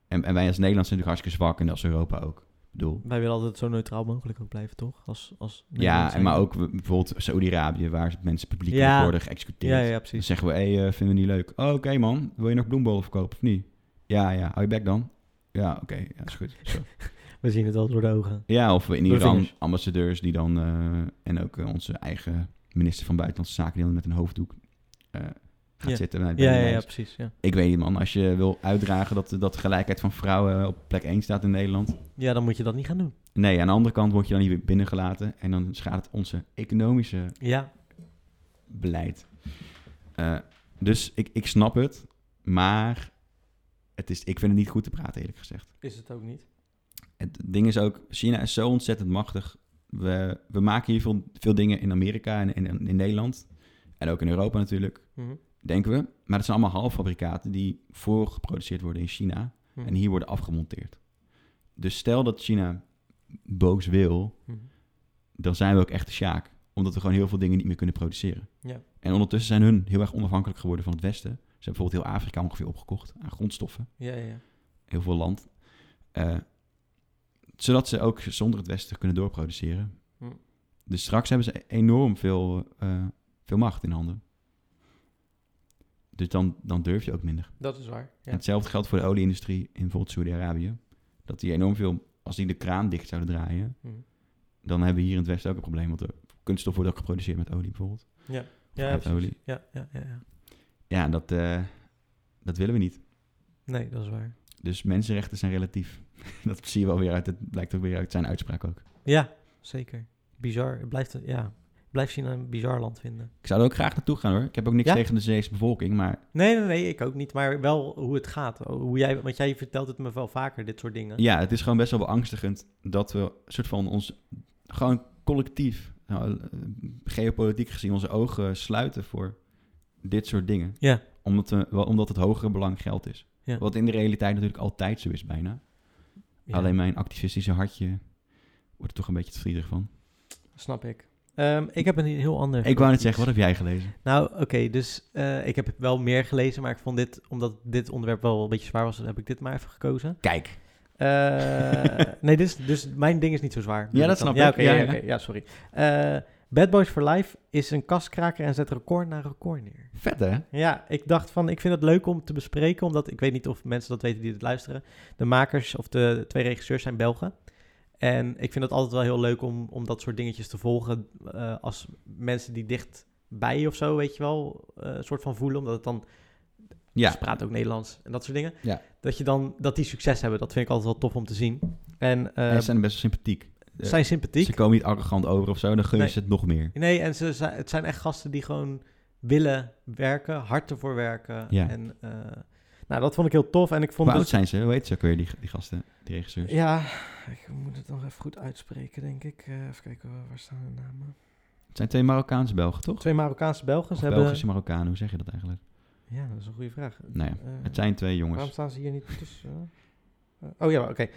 S2: En, en wij als Nederland zijn natuurlijk hartstikke zwak en dat is Europa ook. Ik bedoel,
S1: Wij willen altijd zo neutraal mogelijk ook blijven, toch? Als, als
S2: ja,
S1: Nederland
S2: en maar
S1: zijn.
S2: ook bijvoorbeeld Saudi-Arabië, waar mensen publiek
S1: Ja.
S2: worden geëxecuteerd.
S1: Ja, ja,
S2: Dan
S1: precies.
S2: zeggen we, hé, hey, vinden we niet leuk. Oh, oké man, wil je nog bloembollen verkopen of niet? Ja, ja, hou je bek dan. Ja, oké, ja, is goed. Zo.
S1: We zien het al door de ogen.
S2: Ja, of in
S1: Door de
S2: Iran
S1: vingers.
S2: ambassadeurs die dan, eh, en ook eh, onze eigen minister van Buitenlandse Zaken, die dan met een hoofddoek eh, gaat
S1: Ja.
S2: zitten. bij- bij
S1: Ja,
S2: de
S1: ja, ja,
S2: lijst.
S1: precies. Ja.
S2: Ik weet niet man, als je wil uitdragen dat, dat gelijkheid van vrouwen eh, op plek 1 staat in Nederland.
S1: ja, dan moet je dat niet gaan doen.
S2: Nee, aan de andere kant word je dan hier weer binnengelaten en dan schaadt het onze economische
S1: Ja,
S2: beleid. Eh, dus ik, ik snap het, maar het is, ik vind het niet goed te praten, eerlijk gezegd.
S1: is het ook niet.
S2: Het ding is ook, China is zo ontzettend machtig. We, we maken hier veel, veel dingen in Amerika en in, in Nederland. En ook in Europa natuurlijk,
S1: Mhm.
S2: denken we. Maar het zijn allemaal halffabrikaten die voorgeproduceerd worden in China.
S1: Mhm.
S2: En hier worden afgemonteerd. Dus stel dat China boos wil,
S1: Mhm.
S2: dan zijn we ook echt de sjaak. Omdat we gewoon heel veel dingen niet meer kunnen produceren.
S1: Ja.
S2: En ondertussen zijn hun heel erg onafhankelijk geworden van het Westen. Ze hebben bijvoorbeeld heel Afrika ongeveer opgekocht aan grondstoffen.
S1: Ja, ja, ja.
S2: Heel veel land. Eh, zodat ze ook zonder het Westen kunnen doorproduceren.
S1: Hm.
S2: Dus straks hebben ze enorm veel, eh, veel macht in handen. Dus dan, dan durf je ook minder.
S1: Dat is waar.
S2: En Hetzelfde geldt voor de olieindustrie in bijvoorbeeld Saudi-Arabië. Dat die enorm veel, als die de kraan dicht zouden draaien,
S1: Mhm.
S2: dan hebben we hier in het Westen ook een probleem. Want de kunststof wordt ook geproduceerd met olie bijvoorbeeld.
S1: Ja,
S2: Uit
S1: precies.
S2: olie.
S1: Ja, ja, ja, ja.
S2: Ja, dat, eh, dat willen we niet.
S1: Nee, dat is waar.
S2: Dus mensenrechten zijn relatief. dat zie je wel weer uit, het blijkt ook weer uit zijn uitspraak ook.
S1: Ja, zeker. Bizar. Het blijft, eh, ja, ik blijf China een bizar land vinden.
S2: Ik zou er ook graag naartoe gaan hoor. Ik heb ook niks
S1: Ja?
S2: tegen de Zeese bevolking, maar
S1: Nee, nee, nee, ik ook niet. Maar wel hoe het gaat. Hoe jij, want jij vertelt het me wel vaker, dit soort dingen.
S2: ja, het is gewoon best wel beangstigend dat we een soort van ons gewoon collectief, nou, eh, geopolitiek gezien, onze ogen sluiten voor dit soort dingen.
S1: Ja.
S2: Omdat, we, wel omdat het hogere belang geld is.
S1: Ja.
S2: Wat in de realiteit natuurlijk altijd zo is bijna.
S1: Ja,
S2: Alleen mijn activistische hartje wordt er toch een beetje te verdrietig van.
S1: Snap ik. Ehm, ik heb een heel ander...
S2: Ik wou net
S1: iets.
S2: zeggen, wat heb jij gelezen?
S1: Nou, oké, dus eh, ik heb wel meer gelezen, maar ik vond dit, omdat dit onderwerp wel een beetje zwaar was, heb ik dit maar even gekozen.
S2: Kijk.
S1: Eh, nee, dit is, dus mijn ding is niet zo zwaar.
S2: Ja, dat snap
S1: ja,
S2: ik.
S1: oké,
S2: Ja,
S1: ja,
S2: ja.
S1: oké, ja, sorry. Eh, Bad Boys for Life is een kaskraker en zet record na record neer.
S2: Vet hè?
S1: Ja, ik dacht van, ik vind het leuk om te bespreken, omdat ik weet niet of mensen dat weten die dit luisteren. De makers of de twee regisseurs zijn Belgen. En ik vind het altijd wel heel leuk om, om dat soort dingetjes te volgen eh, als mensen die dichtbij je of zo, weet je wel, eh, een soort van voelen, omdat het dan
S2: Ja.
S1: ze praten ook Nederlands en dat soort dingen.
S2: Ja.
S1: Dat, je dan, dat die succes hebben, dat vind ik altijd wel tof om te zien. En eh,
S2: En ze zijn best wel sympathiek. eh,
S1: zijn sympathiek.
S2: Ze komen niet arrogant over of zo, dan gun je
S1: Nee.
S2: ze het nog meer.
S1: Nee, en ze, zijn- het zijn echt gasten die gewoon willen werken, hard ervoor werken.
S2: Ja.
S1: En eh, nou, dat vond ik heel tof. En ik vond
S2: Hoe oud
S1: dus-
S2: zijn dus? ze? Hoe heet ze ook weer, die, die gasten, die regisseurs?
S1: Ja, ik moet het nog even goed uitspreken, denk ik. Eh, even kijken, waar- waar staan de namen?
S2: Het zijn twee Marokkaanse Belgen, toch?
S1: Twee Marokkaanse Belgen.
S2: Of
S1: Ze hebben...
S2: Belgische Marokkanen, hoe zeg je dat eigenlijk?
S1: Ja, dat is een goede vraag.
S2: Nou ja,
S1: Eh,
S2: het zijn twee jongens.
S1: Waarom staan ze hier niet tussen? Eh, oh ja, oké.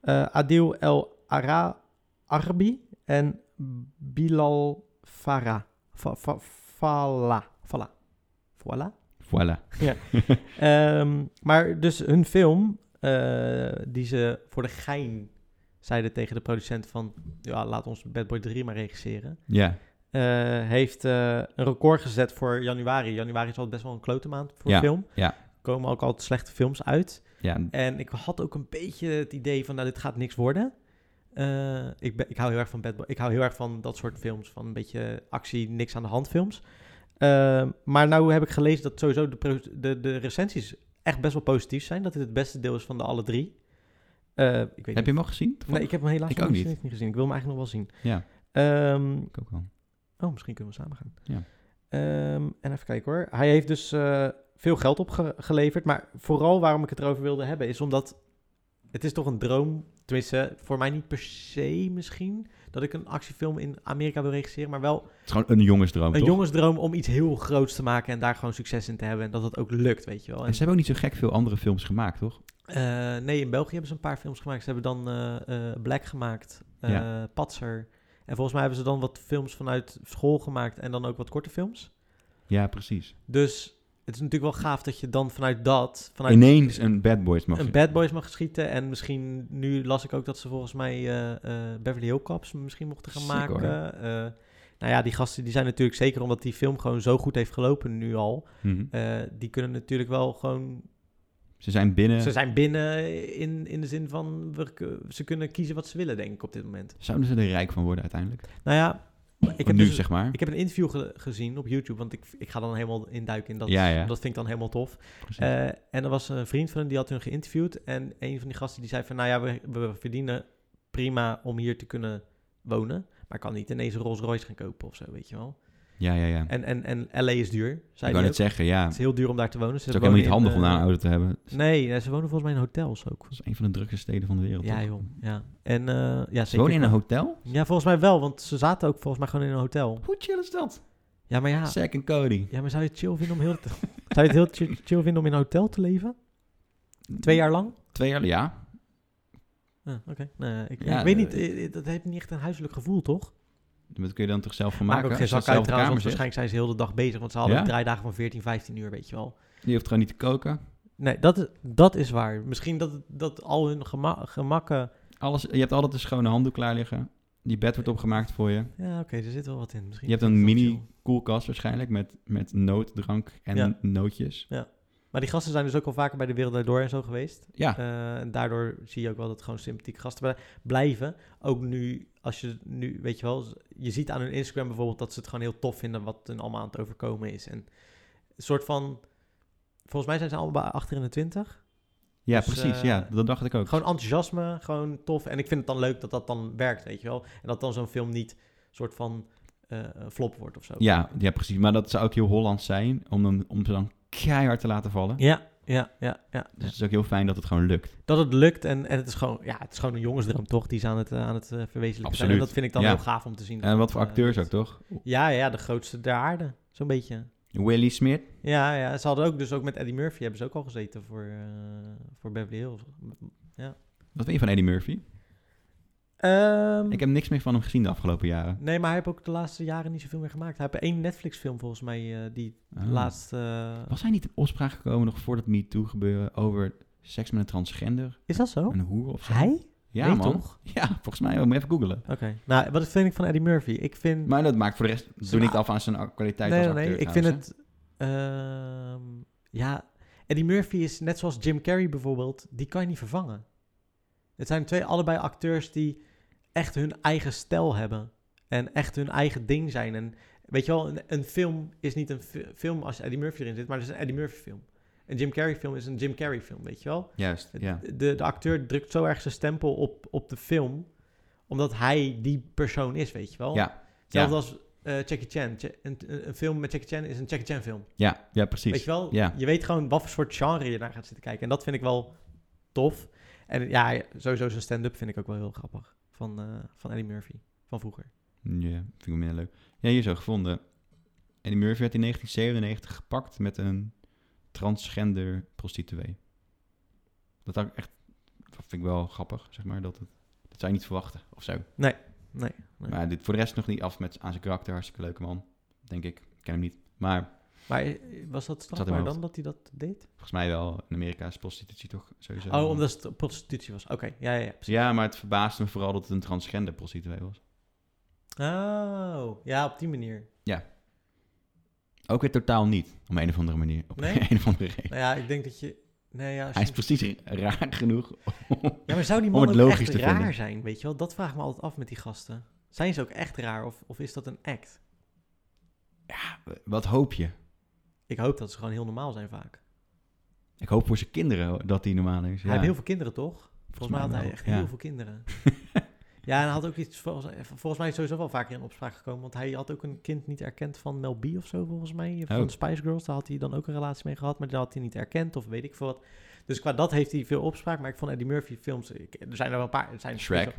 S1: Eh, Adil El Ara Arbi en Bilal Farah. Fa, fa, Fala. Fala. Voilà.
S2: Voilà.
S1: Ehm, maar dus hun film, eh, die ze voor de gein zeiden tegen de producent van... Ja, laat ons Bad Boy 3 maar regisseren.
S2: Ja,
S1: eh, heeft eh, een record gezet voor januari. Januari is altijd best wel een klote maand voor
S2: Ja,
S1: film.
S2: ja.
S1: Komen ook altijd slechte films uit.
S2: ja
S1: En ik had ook een beetje het idee van, nou, dit gaat niks worden. Eh, ik, ben, ik hou heel erg van Bad Boy. Ik hou heel erg van dat soort films. Van een beetje actie, niks aan de hand films. Eh, maar nou heb ik gelezen dat sowieso de, pro- de, de recensies echt best wel positief zijn. Dat dit het beste deel is van de alle drie. Eh, ik weet
S2: heb je
S1: niet.
S2: hem al gezien?
S1: Nee, ik heb hem helaas
S2: Ik
S1: nog
S2: ook niet.
S1: niet gezien. Ik wil hem eigenlijk nog wel zien.
S2: Ja,
S1: Ehm,
S2: ik ook wel.
S1: Oh, misschien kunnen we samen gaan.
S2: Ja.
S1: Ehm, en even kijken hoor. Hij heeft dus eh, veel geld opgeleverd. Maar vooral waarom ik het erover wilde hebben, is omdat Het is toch een droom, tenminste voor mij niet per se misschien, dat ik een actiefilm in Amerika wil regisseren, maar wel
S2: Het is gewoon een jongensdroom,
S1: een
S2: toch?
S1: jongensdroom om iets heel groots te maken en daar gewoon succes in te hebben en dat dat ook lukt, weet je wel.
S2: En
S1: En,
S2: ze hebben ook niet zo gek veel andere films gemaakt, toch?
S1: eh, nee, in België hebben ze een paar films gemaakt. Ze hebben dan eh, eh, Black gemaakt, eh, Patser. En volgens mij hebben ze dan wat films vanuit school gemaakt en dan ook wat korte films.
S2: Ja, precies.
S1: Dus het is natuurlijk wel gaaf dat je dan vanuit dat, vanuit
S2: Ineens een Bad Boys mag
S1: een Bad Boys mag schieten. En misschien, nu las ik ook dat ze volgens mij eh, eh, Beverly Hill Cops misschien mochten gaan
S2: Sick,
S1: maken.
S2: hoor.
S1: Eh, nou ja, die gasten die zijn natuurlijk zeker omdat die film gewoon zo goed heeft gelopen nu al.
S2: Mhm.
S1: eh, die kunnen natuurlijk wel gewoon...
S2: Ze zijn binnen.
S1: Ze zijn binnen in, in de zin van we, k- ze kunnen kiezen wat ze willen, denk ik, op dit moment.
S2: Zouden ze er rijk van worden uiteindelijk?
S1: Nou ja, ik heb,
S2: nu,
S1: dus,
S2: zeg maar.
S1: ik heb een interview ge- gezien op YouTube, want ik, ik ga dan helemaal induiken in dat.
S2: ja, ja.
S1: Dat vind ik dan helemaal tof.
S2: precies.
S1: Eh, en er was een vriend van hem die had hun geïnterviewd. En een van die gasten die zei van, nou ja, we, we verdienen prima om hier te kunnen wonen. Maar ik kan niet ineens een Rolls Royce gaan kopen of zo, weet je wel.
S2: ja, ja, ja.
S1: En, en, en LA is duur,
S2: Ik
S1: zei
S2: wou
S1: hij
S2: net
S1: ook.
S2: zeggen, ja.
S1: Het
S2: Het
S1: is heel duur om daar te wonen. Ze
S2: is ook helemaal niet
S1: wonen
S2: handig om
S1: in,
S2: daar een
S1: eh,
S2: auto te hebben. Het
S1: Nee, eh, ze wonen volgens mij in hotels ook.
S2: is een van de drukste steden van de wereld.
S1: Ja,
S2: toch?
S1: joh. Ja. En, eh, ja,
S2: Ze
S1: zeker.
S2: wonen in een hotel?
S1: Ja, volgens mij wel, want ze zaten ook volgens mij gewoon in een hotel.
S2: Hoe chill is dat?
S1: Ja, maar ja,
S2: Zack en Cody.
S1: ja maar zou je het chill vinden om heel... zou je het heel chill- chill vinden om in een hotel te leven? Twee jaar lang?
S2: Twee jaar, ja.
S1: Ah, oké. Nee, ik,
S2: Ja,
S1: ik weet
S2: eh,
S1: niet, eh, eh, dat heeft niet echt een huiselijk gevoel, toch?
S2: Dat kun je dan toch zelf van
S1: Maak
S2: maken?
S1: ook geen
S2: als je
S1: zak
S2: zelf
S1: uit
S2: op de
S1: trouwens, want
S2: kamer
S1: waarschijnlijk
S2: zit.
S1: zijn ze heel de dag bezig, want ze hadden
S2: Ja?
S1: drie dagen van 14, 15 uur, weet je wel.
S2: Je hoeft gewoon niet te koken.
S1: Nee, dat, is- dat is waar. Misschien dat, dat al hun gema- gemakken...
S2: Alles, je hebt altijd een schone handdoek klaar liggen. Die bed wordt opgemaakt voor je.
S1: Ja, oké, er zit wel wat in. Misschien
S2: Je hebt
S1: is dat
S2: een mini
S1: chill.
S2: koelkast waarschijnlijk met, met nooddrank en
S1: Ja.
S2: nootjes.
S1: Maar die gasten zijn dus ook al vaker bij de Wereld Draait Door en zo geweest.
S2: Ja,
S1: Eh, en daardoor zie je ook wel dat gewoon sympathieke gasten bl- blijven. Ook nu, als je nu, weet je wel, je ziet aan hun Instagram bijvoorbeeld dat ze het gewoon heel tof vinden wat hun allemaal aan het overkomen is. En een soort van, volgens mij zijn ze allemaal bij achter in de twintig.
S2: ja
S1: dus,
S2: precies.
S1: eh,
S2: ja, dat dacht ik ook.
S1: Gewoon enthousiasme, gewoon tof. En ik vind het dan leuk dat dat dan werkt, weet je wel. En dat dan zo'n film niet een soort van eh, flop wordt of zo.
S2: Ja, ja, precies. Maar dat zou ook heel Hollands zijn om, dan, om ze dan keihard te laten vallen.
S1: Ja, ja, ja, ja.
S2: Dus het is ook heel fijn dat het gewoon lukt.
S1: Dat het lukt en, en het, is gewoon, ja, het is gewoon een jongensdroom, toch? Die is aan het, eh, aan het eh, verwezenlijken. zijn. En
S2: Absoluut,
S1: dat vind ik dan
S2: ja.
S1: heel gaaf om te zien. dat
S2: En wat
S1: dat,
S2: voor
S1: eh,
S2: acteurs ook,
S1: lukt.
S2: toch?
S1: Ja, ja, de grootste der aarde. Zo'n beetje.
S2: Willy Smith.
S1: Ja, ja, ze hadden ook dus ook met Eddie Murphy hebben ze ook al gezeten voor, eh, voor Beverly Hills.
S2: Wat vind je van Eddie Murphy?
S1: Ehm,
S2: Ik heb niks meer van hem gezien de afgelopen jaren.
S1: Nee, maar hij heeft ook de laatste jaren niet zoveel meer gemaakt. Hij heeft één Netflix film volgens mij eh, die
S2: Ah.
S1: laatst... eh,
S2: Was hij niet in opspraak gekomen nog voor dat MeToo gebeuren over seks met een transgender?
S1: Is dat zo?
S2: Een hoer of zo?
S1: Oh. Hij?
S2: Ja,
S1: Nee,
S2: man.
S1: toch?
S2: Ja, volgens mij. Moet even googelen.
S1: Oké. Nou, wat vind ik van Eddie Murphy? Ik vind...
S2: Maar dat maakt voor de rest... Doe
S1: Zijn-
S2: niet af aan zijn kwaliteit
S1: nee,
S2: als
S1: nee,
S2: acteur
S1: nee. Ik vind
S2: trouwens,
S1: het... ehm, ja, Eddie Murphy is net zoals Jim Carrey bijvoorbeeld. Die kan je niet vervangen. Het zijn twee allebei acteurs die echt hun eigen stijl hebben. En echt hun eigen ding zijn. En weet je wel, een, een film is niet een fi- film als Eddie Murphy erin zit, maar het is een Eddie Murphy film. Een Jim Carrey film is een Jim Carrey film, weet je wel?
S2: hè? Juist, ja.
S1: De, de acteur drukt zo erg zijn stempel op, op de film, omdat hij die persoon is, weet je wel?
S2: Ja,
S1: Hetzelfde als eh, Jackie Chan. Ch- een, een een film met Jackie Chan is een Jackie Chan film.
S2: Ja, ja, precies.
S1: Weet je wel?
S2: Ja.
S1: Je weet gewoon wat voor soort genre je naar gaat zitten kijken. En dat vind ik wel tof. En ja, sowieso zijn stand-up vind ik ook wel heel grappig. Van, eh, van Eddie Murphy, van vroeger.
S2: Ja, vind ik wel minder leuk. Ja, hier zo gevonden. Eddie Murphy werd in 1997 gepakt met een transgender prostituee. Dat had ik echt, dat vind ik wel grappig, zeg maar. Dat, het, dat zou je niet verwachten, of zo.
S1: Nee. nee.
S2: Maar dit voor de rest nog niet af met aan zijn karakter. Hartstikke leuke man, denk ik. Ik ken hem niet. Maar
S1: Maar eh, was dat strafbaar
S2: hoofd.
S1: dan dat hij dat deed?
S2: volgens mij wel, in Amerika is prostitutie toch sowieso.
S1: oh, omdat het st- prostitutie was. Oké, ja, ja, ja. precies.
S2: Ja, maar het verbaasde me vooral dat het een transgender prostituee was.
S1: Oh, ja, op die manier.
S2: Ook weer totaal niet, om een of andere manier. Op
S1: Nee?
S2: een of andere reden.
S1: Nou ja, ik denk dat je... Nee, ja, als
S2: Hij is
S1: je-
S2: precies raar genoeg
S1: Ja, maar zou die
S2: Om
S1: man
S2: het
S1: ook
S2: logisch
S1: echt
S2: te
S1: raar
S2: vinden.
S1: zijn, weet je wel? Dat vraag ik me altijd af met die gasten. Zijn ze ook echt raar of, of is dat een act?
S2: Wat hoop je?
S1: Ik hoop dat ze gewoon heel normaal zijn vaak.
S2: Ik hoop voor zijn kinderen dat die normaal is.
S1: Hij heeft heel veel kinderen, toch? Volgens mij had
S2: mij
S1: hij
S2: wel,
S1: echt
S2: ja.
S1: heel veel kinderen. ja, en hij had ook iets... Volgens, volgens mij is sowieso wel vaker in opspraak gekomen. Want hij had ook een kind niet erkend van Mel B of zo, volgens mij. Van
S2: Oh.
S1: Spice Girls, daar had hij dan ook een relatie mee gehad. Maar daar had hij niet erkend of weet ik veel wat. Dus qua dat heeft hij veel opspraak. Maar ik vond Eddie Murphy films... ik- er zijn er wel een paar. Er zijn
S2: Shrek.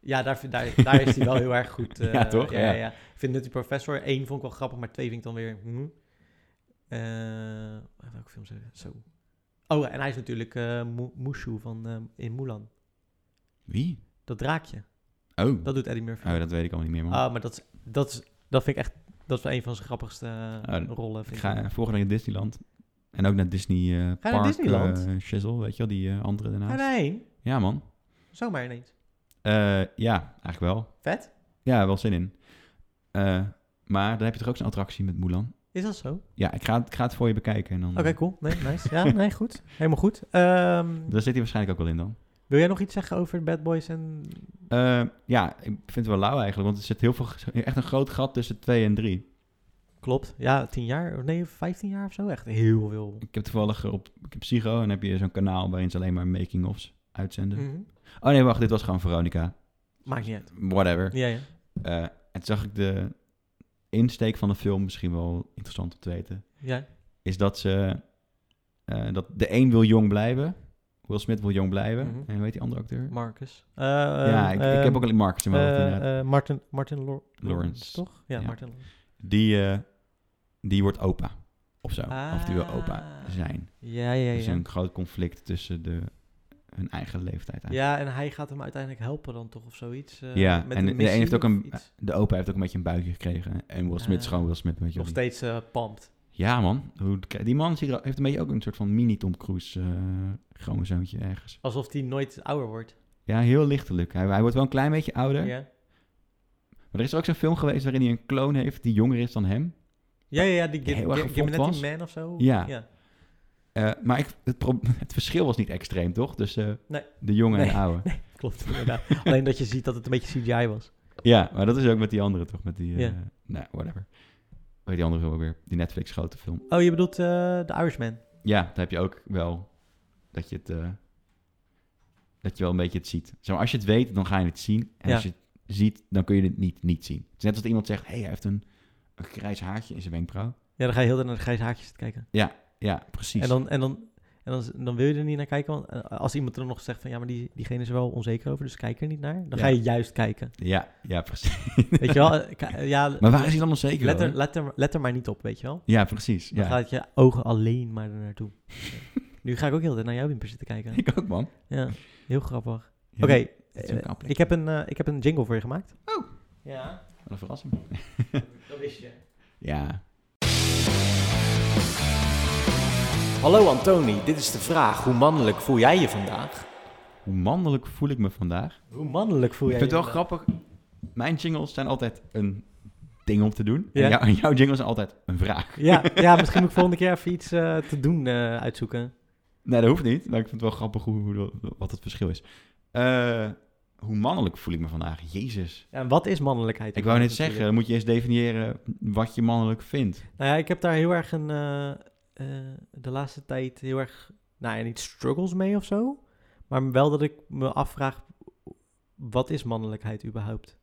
S1: Ja, daar, vind- daar, daar is hij wel heel erg goed. eh,
S2: Ja, toch?
S1: Ja,
S2: Ja.
S1: ja. Ik vind Nutty Professor. Eén vond ik wel grappig, maar twee vind ik dan weer... hmm. Eh, welke films zijn er? Zo. Oh, en hij is natuurlijk eh Mu- Mushu van, eh, in Mulan.
S2: Wie?
S1: Dat draakje.
S2: Oh.
S1: Dat doet Eddie Murphy.
S2: oh, dat weet ik al niet meer, man.
S1: Ah, maar dat, is- dat, is- dat vind ik echt... Dat is wel een van zijn grappigste eh,
S2: Ah,
S1: rollen. Vind
S2: ik
S1: ik
S2: ga eh, volgende week naar Disneyland. En ook naar Disney eh
S1: naar
S2: Park,
S1: Disneyland?
S2: eh, Shizzle, weet je wel, die eh, andere
S1: Ga
S2: daarnaast.
S1: je daarheen?
S2: Ja, man.
S1: Ah, Zomaar ineens.
S2: Eh, ja, eigenlijk wel.
S1: Vet.
S2: Ja, wel zin in. Eh, maar dan heb je toch ook zo'n attractie met Mulan?
S1: Is dat zo?
S2: Ja, ik ga, het- ik ga het voor je bekijken. En dan,
S1: Oké, cool. Nee, nice. Ja, nee, goed. Helemaal goed. Ehm,
S2: eh, Daar zit hij waarschijnlijk ook wel in dan.
S1: wil jij nog iets zeggen over Bad Boys en...
S2: Eh, ja, ik vind het wel lauw eigenlijk, want er zit heel veel, echt een groot gat tussen 2 en 3.
S1: Klopt. Ja, 10 jaar, of nee, 15 jaar of zo. Echt heel veel.
S2: Ik heb toevallig op ik heb Psycho en heb je zo'n kanaal waarin ze alleen maar making-ofs uitzenden.
S1: Mhm.
S2: Oh nee, wacht, dit was gewoon Veronica.
S1: Maakt niet uit.
S2: Whatever.
S1: Ja, ja.
S2: Eh, en toen zag ik de insteek van de film misschien wel interessant om te weten.
S1: ja.
S2: Is dat ze, eh, dat de een wil jong blijven. Will Smith wil jong blijven.
S1: Mhm. ehm,
S2: En hoe heet die andere acteur?
S1: Marcus. Eh,
S2: ja, ik, ik heb ook alleen Marcus in mijn hoofd inderdaad.
S1: Martin, Martin Lor-
S2: Lawrence.
S1: Toch? Ja,
S2: Ja.
S1: Martin Lawrence.
S2: Die, eh, die wordt opa. Of zo. Of die wil opa
S1: Ah.
S2: zijn.
S1: Ja, ja,
S2: Er is
S1: ja.
S2: een groot conflict tussen de, hun eigen leeftijd eigenlijk.
S1: Ja, en hij gaat hem uiteindelijk helpen dan toch of zoiets. eh,
S2: Ja,
S1: met
S2: en de,
S1: een
S2: ene heeft ook
S1: missie
S2: een,
S1: of iets.
S2: de opa heeft ook een beetje een buikje gekregen. En Will Smith is
S1: Ah.
S2: gewoon Will Smith, weet je
S1: Nog
S2: wel.
S1: steeds eh pumped.
S2: Ja man, Hoe- die man ziet er- heeft een beetje ook een soort van mini Tom Cruise eh chromosoontje ergens.
S1: Alsof hij nooit ouder wordt.
S2: Ja, heel lichtelijk. Hij, hij wordt wel een klein beetje ouder.
S1: Ja.
S2: Maar er is ook zo'n film geweest waarin hij een kloon heeft die jonger is dan hem.
S1: Ja, ja, ja, die
S2: Die
S1: Gi-
S2: heel erg
S1: Gi-
S2: gefokt
S1: Gimminetti
S2: was.
S1: Man of zo.
S2: Ja.
S1: ja.
S2: Eh, maar ik, het, pro- het verschil was niet extreem, toch? Tussen eh,
S1: Nee.
S2: de jonge en
S1: Nee.
S2: de oude.
S1: Klopt, inderdaad. Alleen dat je ziet dat het een beetje CGI was.
S2: Ja, maar dat is ook met die andere, toch? Met die, eh,
S1: Ja.
S2: nou, whatever. Weet die andere film ook weer? Die Netflix grote film.
S1: Oh, je bedoelt eh The Irishman.
S2: Ja, daar heb je ook wel dat je het, eh, dat je wel een beetje het ziet. Zeg maar, als je het weet, dan ga je het zien. En
S1: Ja.
S2: als je het ziet, dan kun je het niet, niet zien. Het is net als dat iemand zegt, hé, hey, hij heeft een, een grijs haartje in zijn wenkbrauw.
S1: Ja, dan ga je heel de tijd naar de grijze haakjes zitten kijken.
S2: Ja, precies.
S1: En dan, en dan, en dan, dan wil je er niet naar kijken. Want eh, als iemand er nog zegt van ja, maar die, diegene is er wel onzeker over, dus kijk er niet naar. Dan
S2: Ja.
S1: ga je juist kijken.
S2: Ja, ja, precies.
S1: Weet je wel? Eh, ka- eh, Ja,
S2: Maar waar is hij dan onzeker
S1: let er,
S2: over?
S1: let, er, let er maar niet op, weet je wel?
S2: Ja, precies.
S1: Dan
S2: Ja.
S1: gaat je ogen alleen maar er naartoe. Ja. nu ga ik ook heel de tijd naar jouw wimpers zitten kijken.
S2: Ik ook, man.
S1: Ja, heel grappig.
S2: Ja,
S1: Oké,
S2: dat is ook
S1: eh,
S2: een plek.
S1: ik, heb een, eh, ik heb een jingle voor je gemaakt. Oh. Ja,
S2: Wat een verrassing.
S1: dat wist je.
S2: Ja.
S1: Hallo Antoni, dit is de vraag. Hoe mannelijk voel jij je vandaag?
S2: Hoe mannelijk voel ik me vandaag?
S1: Hoe mannelijk voel
S2: Ik
S1: jij
S2: vind het wel
S1: je
S2: grappig. Mijn jingles zijn altijd een ding om te doen. En
S1: Ja.
S2: jou- en jouw jingles zijn altijd een vraag.
S1: vandaag? Ja, ja, misschien moet ik volgende keer even iets eh, te doen eh, uitzoeken.
S2: Nee, dat hoeft niet. Maar ik vind het wel grappig hoe, hoe- wat het verschil is. Eh, hoe mannelijk voel ik me vandaag? Jezus.
S1: Ja, en wat is mannelijkheid?
S2: Ik wou net
S1: Natuurlijk.
S2: zeggen, dan moet je eens definiëren wat je mannelijk vindt.
S1: Nou ja, ik heb daar heel erg een, eh, eh, de laatste tijd heel erg, nou ja, niet struggles mee of zo. Maar wel dat ik me afvraag, wat is mannelijkheid überhaupt?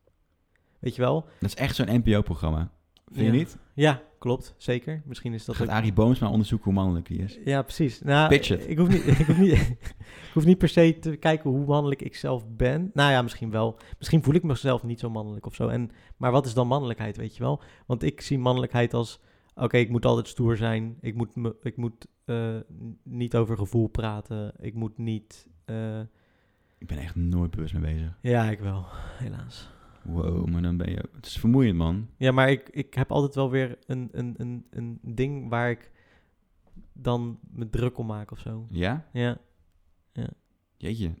S1: Weet je wel?
S2: Dat is echt zo'n NPO-programma. Vind
S1: Ja.
S2: je niet?
S1: Ja, klopt, zeker. Misschien is dat
S2: Gaat
S1: ook-
S2: Arie Boomsma onderzoeken hoe mannelijk die is.
S1: Ja, precies. Nou,
S2: Pitch it.
S1: Ik hoef, niet, ik, hoef niet, ik hoef niet per se te kijken hoe mannelijk ik zelf ben. Nou ja, misschien wel. Misschien voel ik mezelf niet zo mannelijk of zo. En, maar wat is dan mannelijkheid, weet je wel? Want ik zie mannelijkheid als... Oké, ik moet altijd stoer zijn. Ik moet, me, ik moet eh, n- niet over gevoel praten. Ik moet niet... eh,
S2: Ik ben echt nooit bewust mee bezig.
S1: ja, ik wel, helaas.
S2: Wow, maar dan ben je... Het is vermoeiend, man.
S1: Ja, maar ik, ik heb altijd wel weer een, een, een, een ding waar ik dan me druk om maak of zo.
S2: Ja?
S1: Ja.
S2: Jeetje.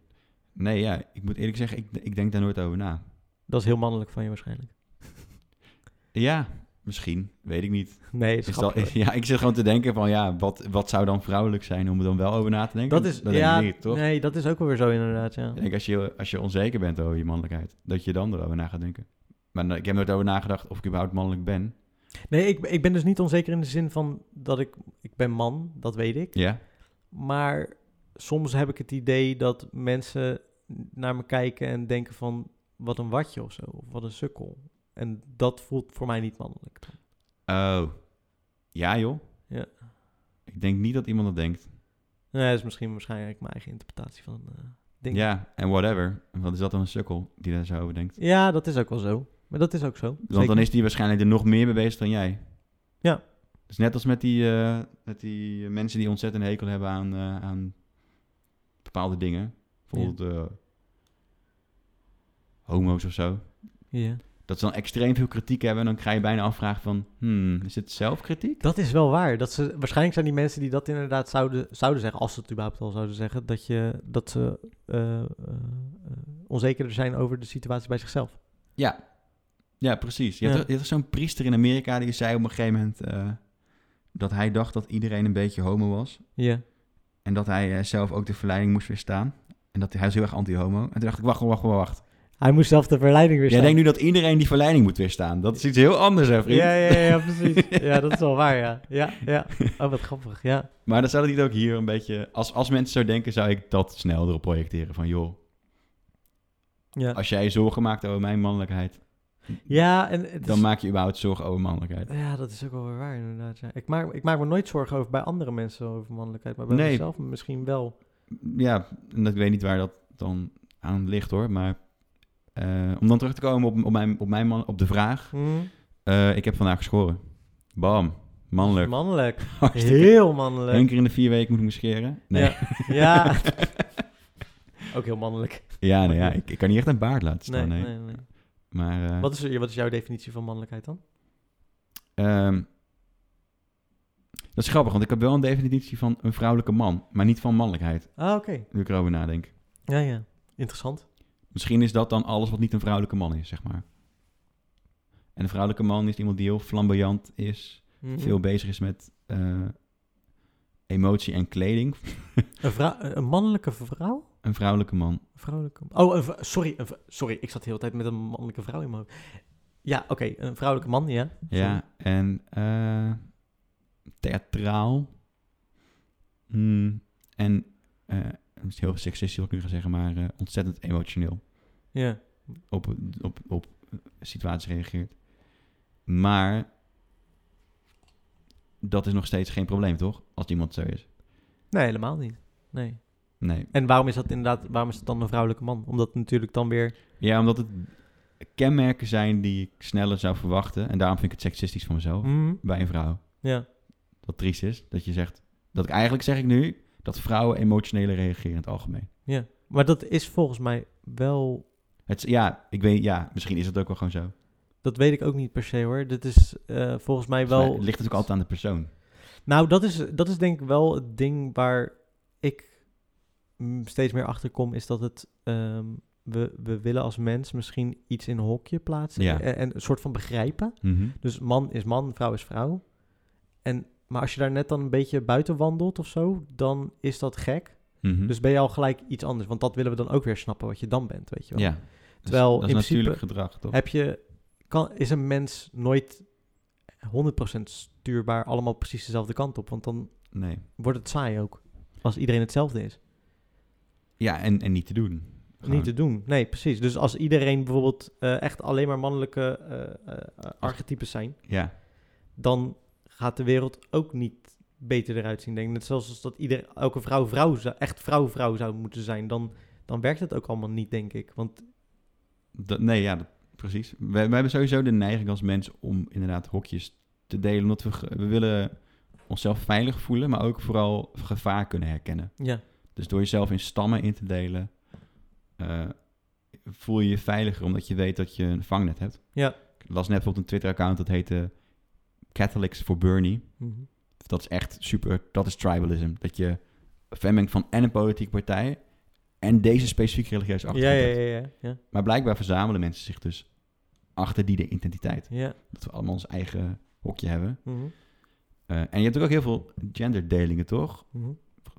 S2: Nee, ja. Ik moet eerlijk zeggen, ik, ik denk daar nooit over na.
S1: Dat is heel mannelijk van je waarschijnlijk.
S2: Ja, misschien. Weet ik niet.
S1: Nee, het
S2: Is
S1: is
S2: dat,
S1: grappig.
S2: ja, ik zit gewoon te denken van ja, wat, wat zou dan vrouwelijk zijn om er dan wel over na te denken?
S1: Dat is,
S2: denk
S1: ja,
S2: ik niet, toch?
S1: nee, dat is ook wel weer zo inderdaad, ja.
S2: Ik denk als je, als je onzeker bent over je mannelijkheid, dat je dan erover na gaat denken. Maar nou, ik heb nooit over nagedacht of ik überhaupt mannelijk ben.
S1: Nee, ik, ik ben dus niet onzeker in de zin van dat ik, ik ben man, dat weet ik.
S2: Ja,
S1: Maar soms heb ik het idee dat mensen naar me kijken en denken van, wat een watje of zo, of wat een sukkel. En dat voelt voor mij niet mannelijk. dan.
S2: oh. Ja joh.
S1: Ja.
S2: Ik denk niet dat iemand dat denkt.
S1: Nee, dat is misschien waarschijnlijk mijn eigen interpretatie van eh dingen.
S2: Ja, en whatever. Want is dat dan een sukkel die daar zo over denkt?
S1: Ja, dat is ook wel zo. Maar dat is ook zo.
S2: Want dan
S1: Zeker.
S2: is die waarschijnlijk er nog meer mee bezig dan jij.
S1: Ja.
S2: Dus net als met die, eh, met die mensen die ontzettend een hekel hebben aan, eh, aan bepaalde dingen. Bijvoorbeeld eh, homo's of zo.
S1: Ja.
S2: Dat ze dan extreem veel kritiek hebben. En dan krijg je bijna afvraag van, hmm, is het zelfkritiek?
S1: Dat is wel waar. Dat ze, waarschijnlijk zijn die mensen die dat inderdaad zouden, zouden zeggen, als ze het überhaupt al zouden zeggen, dat, je, dat ze eh, eh, eh, onzekerder zijn over de situatie bij zichzelf.
S2: Ja, ja precies. Je
S1: Ja.
S2: had, je had toch zo'n priester in Amerika die zei op een gegeven moment eh, dat hij dacht dat iedereen een beetje homo was.
S1: Ja.
S2: En dat hij eh, zelf ook de verleiding moest weerstaan. En dat hij, hij was heel erg anti-homo. En toen dacht ik, wacht, wacht, wacht, wacht.
S1: Hij moest zelf de verleiding weer
S2: Jij
S1: zijn.
S2: denkt nu dat iedereen die verleiding moet weerstaan. Dat is iets heel anders, hè, vriend?
S1: ja, ja, ja, ja, precies. ja, dat is wel waar, ja. Ja, ja. Oh, wat grappig, ja.
S2: Maar dan zou dat niet ook hier een beetje... Als, als mensen zo denken, zou ik dat snel erop projecteren. Van, joh,
S1: Ja,
S2: als jij je zorgen maakt over mijn mannelijkheid...
S1: ja en het
S2: dan
S1: is-
S2: maak je überhaupt zorgen over mannelijkheid.
S1: Ja, dat is ook wel weer waar, inderdaad. ja. Ik, maak, ik maak me nooit zorgen over bij andere mensen over mannelijkheid, maar bij
S2: Nee.
S1: mezelf misschien wel.
S2: Ja, en dat, ik weet niet waar dat dan aan ligt, hoor. Maar eh, om dan terug te komen op, op, mijn, op, mijn man, op de vraag...
S1: Hm?
S2: eh, ik heb vandaag geschoren. Bam, mannelijk.
S1: Mannelijk.
S2: Hartstikke
S1: Heel mannelijk.
S2: Eén keer in de vier weken moet ik me scheren? Nee. Ja,
S1: Ja. ook heel mannelijk.
S2: nee, ja. Ik, ik kan niet echt een baard laten staan. Nee,
S1: nee.
S2: Maar eh,
S1: Wat, is, wat is jouw definitie van mannelijkheid dan?
S2: ehm, dat is grappig, want ik heb wel een definitie van een vrouwelijke man, maar niet van mannelijkheid,
S1: Ah, oké.
S2: nu ik erover nadenk.
S1: Ja, ja. Interessant.
S2: Misschien is dat dan alles wat niet een vrouwelijke man is, zeg maar. En een vrouwelijke man is iemand die heel flamboyant is,
S1: Mhm.
S2: veel bezig is met eh, emotie en kleding.
S1: Een, vrou- een mannelijke vrouw?
S2: Een vrouwelijke man.
S1: Een vrouwelijke. Oh, een vrou- sorry, een vrou- sorry, ik zat de hele tijd met een mannelijke vrouw in mijn hoofd. Ja, oké, een vrouwelijke man, ja.
S2: Ja, en eh, theatraal. Hmm, en, eh, het is heel seksistisch wat ik nu ga zeggen, maar eh, ontzettend emotioneel
S1: Ja.
S2: op, op, op situaties reageert. Maar dat is nog steeds geen probleem, toch? Als iemand zo is.
S1: Nee, helemaal niet. Nee.
S2: Nee.
S1: En waarom is dat inderdaad, waarom is het dan een vrouwelijke man? Omdat het natuurlijk dan weer.
S2: Ja, omdat het kenmerken zijn die ik sneller zou verwachten. En daarom vind ik het seksistisch van mezelf.
S1: Mhm.
S2: Bij een vrouw.
S1: Ja.
S2: dat triest is. Dat je zegt, dat ik eigenlijk zeg ik nu, dat vrouwen emotioneler reageren in het algemeen.
S1: ja. Maar dat is volgens mij wel.
S2: Het, is- ja, ik weet, ja, misschien is het ook wel gewoon zo.
S1: Dat weet ik ook niet per se hoor. Dit is eh, volgens mij
S2: Wel,
S1: wel.
S2: het ligt natuurlijk altijd aan de persoon.
S1: Nou, dat is, dat is denk ik wel het ding waar ik mm, steeds meer achter kom, is dat het. ehm, we, we willen als mens misschien iets in een hokje plaatsen
S2: Ja.
S1: en, en een soort van begrijpen.
S2: Mhm.
S1: Dus man is man, vrouw is vrouw. En, maar als je daar net dan een beetje buiten wandelt of zo, dan is dat gek.
S2: Mhm.
S1: Dus ben je al gelijk iets anders, want dat willen we dan ook weer snappen wat je dan bent, weet je wel.
S2: ja. Dat is-
S1: Terwijl
S2: dat is,
S1: in principe
S2: natuurlijk gedrag, toch?
S1: Heb je, kan, is een mens nooit 100% stuurbaar allemaal precies dezelfde kant op? Want dan
S2: Nee.
S1: wordt het saai ook. Als iedereen hetzelfde is.
S2: Ja, en, en niet te doen. Gewoon.
S1: Niet te doen. Nee, precies. Dus als iedereen bijvoorbeeld eh, echt alleen maar mannelijke eh, eh, eh, archetypes zijn,
S2: Ja,
S1: dan gaat de wereld ook niet beter eruit zien. Denk ik. Net zoals als dat ieder, elke vrouw, vrouw zou- echt vrouw, vrouw zou moeten zijn, dan, dan werkt het ook allemaal niet, denk ik. Want
S2: dat, nee, ja, dat- precies. We, we hebben sowieso de neiging als mens om inderdaad hokjes te delen, omdat we, ge- we willen onszelf veilig voelen, maar ook vooral gevaar kunnen herkennen.
S1: ja,
S2: Dus door jezelf in stammen in te delen, eh, voel je je veiliger omdat je weet dat je een vangnet hebt.
S1: Ja.
S2: Ik las net bijvoorbeeld een Twitter-account dat heette Catholics for Bernie.
S1: mhm.
S2: Dat is echt super, dat is tribalism. Dat je vermengd van en een politieke partij en deze specifieke religieuze
S1: ja, ja,
S2: achtergrond hebt.
S1: ja, ja, ja,
S2: Maar blijkbaar verzamelen mensen zich dus achter die de identiteit.
S1: ja.
S2: Dat we allemaal ons eigen hokje hebben.
S1: mhm,
S2: Eh, en je hebt ook heel veel genderdelingen, toch?
S1: mhm,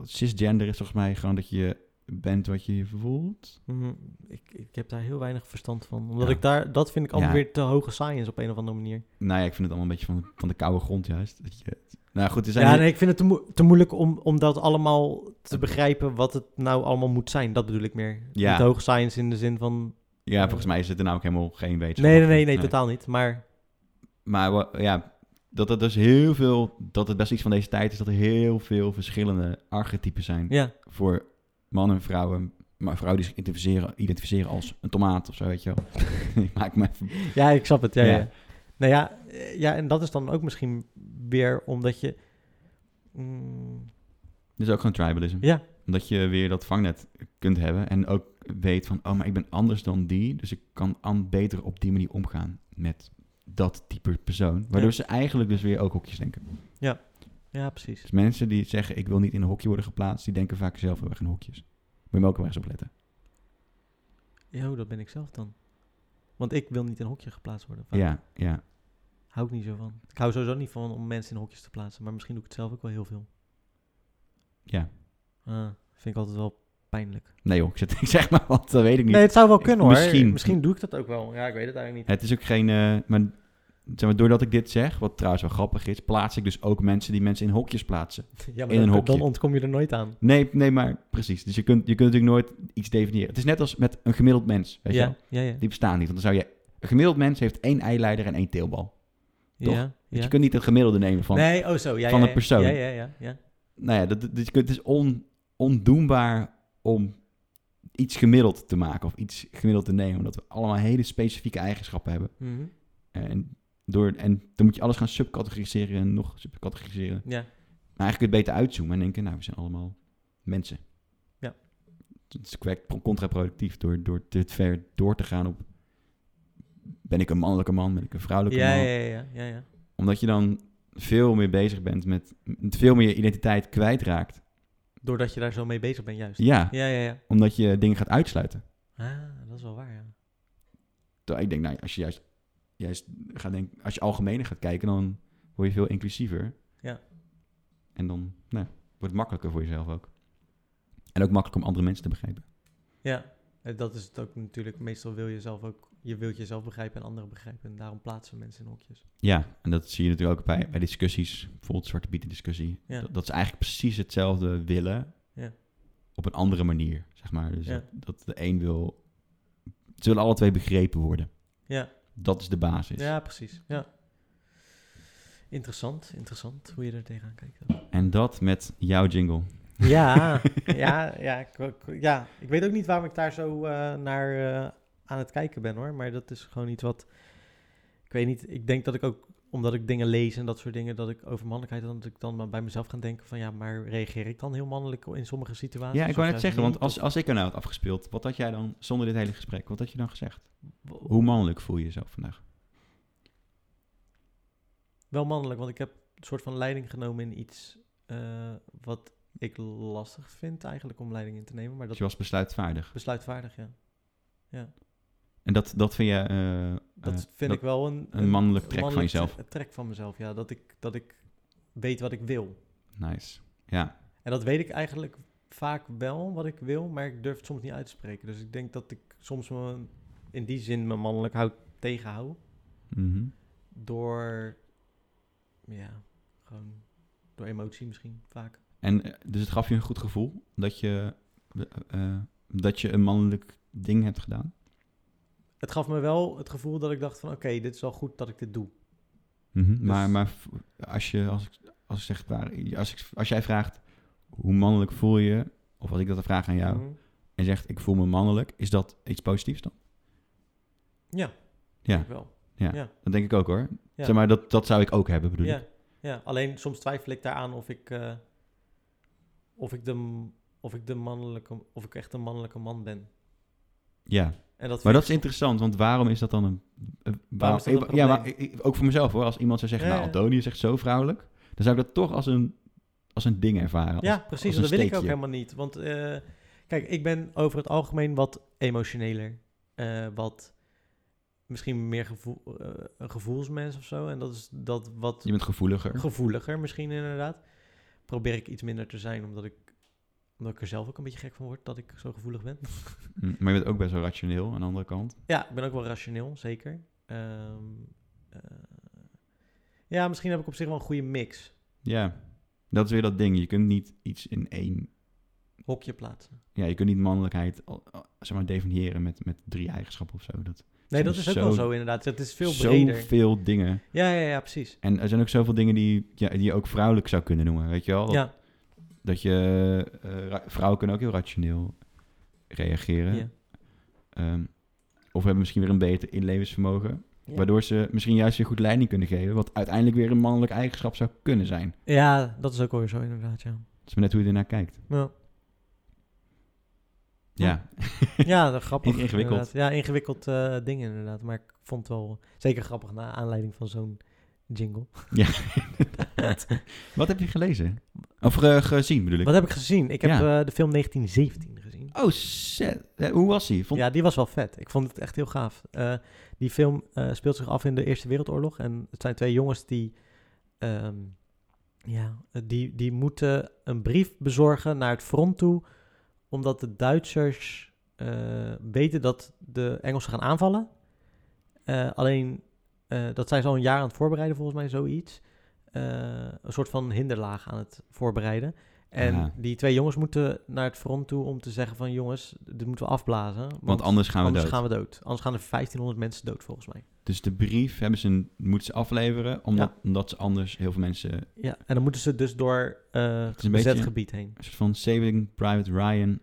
S2: Cisgender is volgens mij gewoon dat je bent wat je je voelt.
S1: mhm. Ik, ik heb daar heel weinig verstand van. Omdat
S2: Ja.
S1: ik daar, dat vind ik allemaal
S2: Ja.
S1: weer te hoge science op een of andere manier.
S2: Nou ja, ik vind het allemaal een beetje van, van de koude grond juist. Dat je, nou goed, er zijn...
S1: Ja, nee, ik vind het te, moe- te moeilijk om, om dat allemaal te begrijpen wat het nou allemaal moet zijn. Dat bedoel ik meer.
S2: Ja.
S1: Niet hoge science in de zin van...
S2: ja, volgens mij is het er namelijk helemaal geen wetenschap.
S1: Nee, nee, nee, nee, totaal niet. Maar
S2: Maar wa- ja, dat er dus heel veel, dat het best iets van deze tijd is, dat er heel veel verschillende archetypen zijn
S1: Ja,
S2: voor mannen en vrouwen. Maar vrouwen die zich identificeren, identificeren als een tomaat of zo, weet je wel. Ik Maak me even...
S1: ja ik snap het. Ja, ja.
S2: Ja.
S1: Nou ja, eh, ja, en dat is dan ook misschien weer omdat je... mm,
S2: Dit is Dus ook gewoon tribalism.
S1: ja,
S2: Omdat je weer dat vangnet kunt hebben en ook weet van, oh, maar ik ben anders dan die, dus ik kan an beter op die manier omgaan met dat type persoon. Waardoor
S1: Ja.
S2: ze eigenlijk dus weer ook hokjes denken.
S1: ja, precies.
S2: Dus mensen die zeggen, ik wil niet in een hokje worden geplaatst, die denken vaak zelf heel erg in hokjes. Moet je me ook wel eens op letten.
S1: Jo, dat ben ik zelf dan. Want ik wil niet in een hokje geplaatst worden. Vaak.
S2: Ja, ja.
S1: Hou ik niet zo van. Ik hou sowieso niet van om mensen in hokjes te plaatsen. Maar misschien doe ik het zelf ook wel heel veel.
S2: Ja.
S1: Ah, vind ik altijd wel pijnlijk.
S2: Nee joh, ik, zet, ik zeg maar wat, dat weet ik niet.
S1: Nee, het zou wel
S2: Ik-
S1: kunnen hoor. Misschien.
S2: misschien.
S1: misschien doe ik dat ook wel. Ja, ik weet het eigenlijk niet.
S2: Het is ook geen... eh, maar, zeg maar, doordat ik dit zeg, wat trouwens wel grappig is, plaats ik dus ook mensen die mensen in hokjes plaatsen.
S1: Ja, maar
S2: in
S1: dan,
S2: een hokje.
S1: dan ontkom je er nooit aan.
S2: Nee, nee, maar precies. Dus je kunt, je kunt natuurlijk nooit iets definiëren. Het is net als met een gemiddeld mens, weet je
S1: Ja,
S2: wel.
S1: ja, ja.
S2: Die bestaan niet, want dan zou je... Een gemiddeld mens heeft één eileider en één teelbal. toch?
S1: Ja,
S2: Dus
S1: ja.
S2: je kunt niet het gemiddelde nemen van...
S1: nee, oh zo. Ja,
S2: van
S1: ja,
S2: een
S1: ja.
S2: persoon.
S1: Ja, ja, ja. ja.
S2: Nou ja, dat, dat- dat- het is on, ondoenbaar om iets gemiddeld te maken of iets gemiddeld te nemen. Omdat we allemaal hele specifieke eigenschappen hebben.
S1: Mhm.
S2: En, door, en dan moet je alles gaan subcategoriseren en nog subcategoriseren.
S1: ja.
S2: Maar eigenlijk kun je het beter uitzoomen en denken, nou, we zijn allemaal mensen.
S1: Ja.
S2: Het is werkt contraproductief door, door te ver door te gaan op... Ben ik een mannelijke man? Ben ik een vrouwelijke
S1: Ja,
S2: man?
S1: ja, ja, ja, ja.
S2: Omdat je dan veel meer bezig bent met... met veel meer je identiteit kwijtraakt.
S1: Doordat je daar zo mee bezig bent, juist.
S2: Ja,
S1: Ja, ja, ja.
S2: omdat je dingen gaat uitsluiten.
S1: Ah, dat is wel waar, ja.
S2: Terwijl ik denk, nou, als je juist, juist gaat denken, als je algemener gaat kijken, dan word je veel inclusiever.
S1: Ja.
S2: En dan nou, ja, wordt het makkelijker voor jezelf ook. En ook makkelijk om andere mensen te begrijpen.
S1: Ja, eh, dat is het ook natuurlijk. Meestal wil je zelf ook, je wilt jezelf begrijpen en anderen begrijpen. En daarom plaatsen we mensen in hokjes.
S2: Ja, en dat zie je natuurlijk ook bij, bij discussies, bijvoorbeeld Zwarte Pieten discussie.
S1: Ja.
S2: Dat, dat ze eigenlijk precies hetzelfde willen
S1: Ja.
S2: op een andere manier, zeg maar. Dus
S1: Ja.
S2: dat, dat de een wil, ze willen alle twee begrepen worden.
S1: Ja.
S2: Dat is de basis.
S1: Ja, precies. Ja. Interessant, interessant hoe je er tegenaan kijkt.
S2: En dat met jouw jingle.
S1: Ja, ja, ja, ik- ik- ja. Ik weet ook niet waarom ik daar zo eh, naar eh, aan het kijken ben hoor. Maar dat is gewoon iets wat. Ik weet niet. Ik denk dat ik ook, omdat ik dingen lees en dat soort dingen, dat ik over mannelijkheid, dan- dat ik dan maar bij mezelf ga denken van ja, maar reageer ik dan heel mannelijk in sommige situaties?
S2: Ja, ik
S1: Of
S2: wou net
S1: juist
S2: zeggen,
S1: niet?
S2: want als, als ik er nou had afgespeeld, wat had jij dan zonder dit hele gesprek, wat had je dan gezegd? Hoe mannelijk voel je jezelf vandaag?
S1: Wel mannelijk, want ik heb een soort van leiding genomen in iets eh, wat ik lastig vind eigenlijk om leiding in te nemen. Maar
S2: Dus
S1: dat
S2: je was besluitvaardig.
S1: besluitvaardig, ja.
S2: En dat, dat vind je, eh,
S1: Dat
S2: eh,
S1: vind ik wel een,
S2: een mannelijk trek van
S1: mannelijk
S2: jezelf.
S1: tre- trek van mezelf, ja. Dat ik, dat ik weet wat ik wil.
S2: Nice. Ja,
S1: En dat weet ik eigenlijk vaak wel wat ik wil, maar ik durf het soms niet uit te spreken. Dus ik denk dat ik soms me, in die zin mijn mannelijk hout tegenhoud.
S2: Mhm.
S1: Door, ja, gewoon door emotie misschien vaak.
S2: En eh, dus het gaf je een goed gevoel dat je, eh, eh, dat je een mannelijk ding hebt gedaan.
S1: Het gaf me wel het gevoel dat ik dacht van oké, dit is wel goed dat ik dit doe.
S2: Mhm. Maar, maar v- als, je, als, ik, als, ik zeg, waar- als, ik, als jij vraagt hoe mannelijk voel je, of als ik dat vraag aan jou,
S1: Mhm.
S2: en zegt ik voel me mannelijk, is dat iets positiefs dan?
S1: Ja.
S2: Ja.
S1: Wel.
S2: Dat denk ik ook hoor.
S1: Ja.
S2: Zeg maar, dat, dat zou ik ook hebben, bedoel ik.
S1: Ja, ja, alleen soms twijfel ik daaraan of ik, eh, of ik, de, m- of ik de mannelijke, of ik echt een mannelijke man ben.
S2: Ja,
S1: En dat
S2: maar
S1: vind
S2: dat
S1: ik
S2: is interessant, want waarom is dat dan een... eh, waarom-
S1: is dat een
S2: ik-
S1: probleem?
S2: ja, maar ik- ik- ook voor mezelf hoor. Als iemand zou zeggen,
S1: Ja,
S2: nou,
S1: ja.
S2: Antonio zegt zo vrouwelijk, dan zou ik dat toch als een, als een ding ervaren. als-
S1: Ja, precies.
S2: een
S1: en Dat wil ik ook
S2: steekje.
S1: helemaal niet. Want eh, kijk, ik ben over het algemeen wat emotioneler. eh, wat misschien meer gevoel, eh, een gevoelsmens of zo. En dat is dat wat
S2: Je bent gevoeliger.
S1: gevoeliger misschien inderdaad. Probeer ik iets minder te zijn, omdat ik, omdat ik er zelf ook een beetje gek van word dat ik zo gevoelig ben.
S2: Mm, maar je bent ook best wel rationeel aan de andere kant.
S1: Ja, ik ben ook wel rationeel, zeker. Ehm, eh, ja, misschien heb ik op zich wel een goede mix.
S2: Ja, dat is weer dat ding. Je kunt niet iets in één...
S1: Hokje plaatsen.
S2: Ja, je kunt niet mannelijkheid al- al- zeg maar, definiëren met, met drie eigenschappen of zo. Dat,
S1: Nee,
S2: zijn
S1: dat is ook
S2: zo-
S1: wel zo inderdaad. Het is veel breder.
S2: Zoveel dingen.
S1: Ja, ja, ja, precies.
S2: En er zijn ook zoveel dingen die, ja, die je ook vrouwelijk zou kunnen noemen, weet je wel? Dat,
S1: Ja,
S2: dat je... eh, ra- vrouwen kunnen ook heel rationeel reageren.
S1: ja.
S2: Ehm, of hebben misschien weer een beter inlevensvermogen.
S1: Ja.
S2: Waardoor ze misschien juist weer goed leiding kunnen geven. Wat uiteindelijk weer een mannelijk eigenschap zou kunnen zijn.
S1: ja, dat is ook alweer zo inderdaad, ja.
S2: Het is maar net hoe je ernaar kijkt.
S1: Ja,
S2: Ja,
S1: ja dat, grappig.
S2: In- ingewikkeld.
S1: inderdaad. Ja, ingewikkeld eh, dingen inderdaad. Maar ik vond het wel zeker grappig naar aanleiding van zo'n jingle.
S2: wat heb je gelezen? Of eh, gezien bedoel ik?
S1: Wat heb ik gezien? Ik heb
S2: Ja.
S1: eh, de film 1917 gezien.
S2: Oh, shit. Eh, Hoe was hij? Vond...
S1: Ja, die was wel vet. Ik vond het echt heel gaaf. Eh, die film eh, speelt zich af in de Eerste Wereldoorlog. En het zijn twee jongens die, ehm, ja, eh, die, die moeten een brief bezorgen naar het front toe. Omdat de Duitsers eh, weten dat de Engelsen gaan aanvallen. Eh, alleen, eh, dat zijn ze al een jaar aan het voorbereiden volgens mij, zoiets. Eh, een soort van hinderlaag aan het voorbereiden. En
S2: Ja.
S1: die twee jongens moeten naar het front toe om te zeggen van... jongens, dit moeten we afblazen. Want,
S2: Want anders gaan we
S1: anders
S2: dood.
S1: gaan we dood. Anders gaan er 1500 mensen dood, volgens mij.
S2: Dus de brief hebben ze een, moeten ze afleveren, omdat, omdat ze anders heel veel mensen... Een
S1: Ja, en dan moeten ze dus door eh
S2: is
S1: bezet
S2: een beetje-
S1: gebied heen.
S2: soort van Saving Private Ryan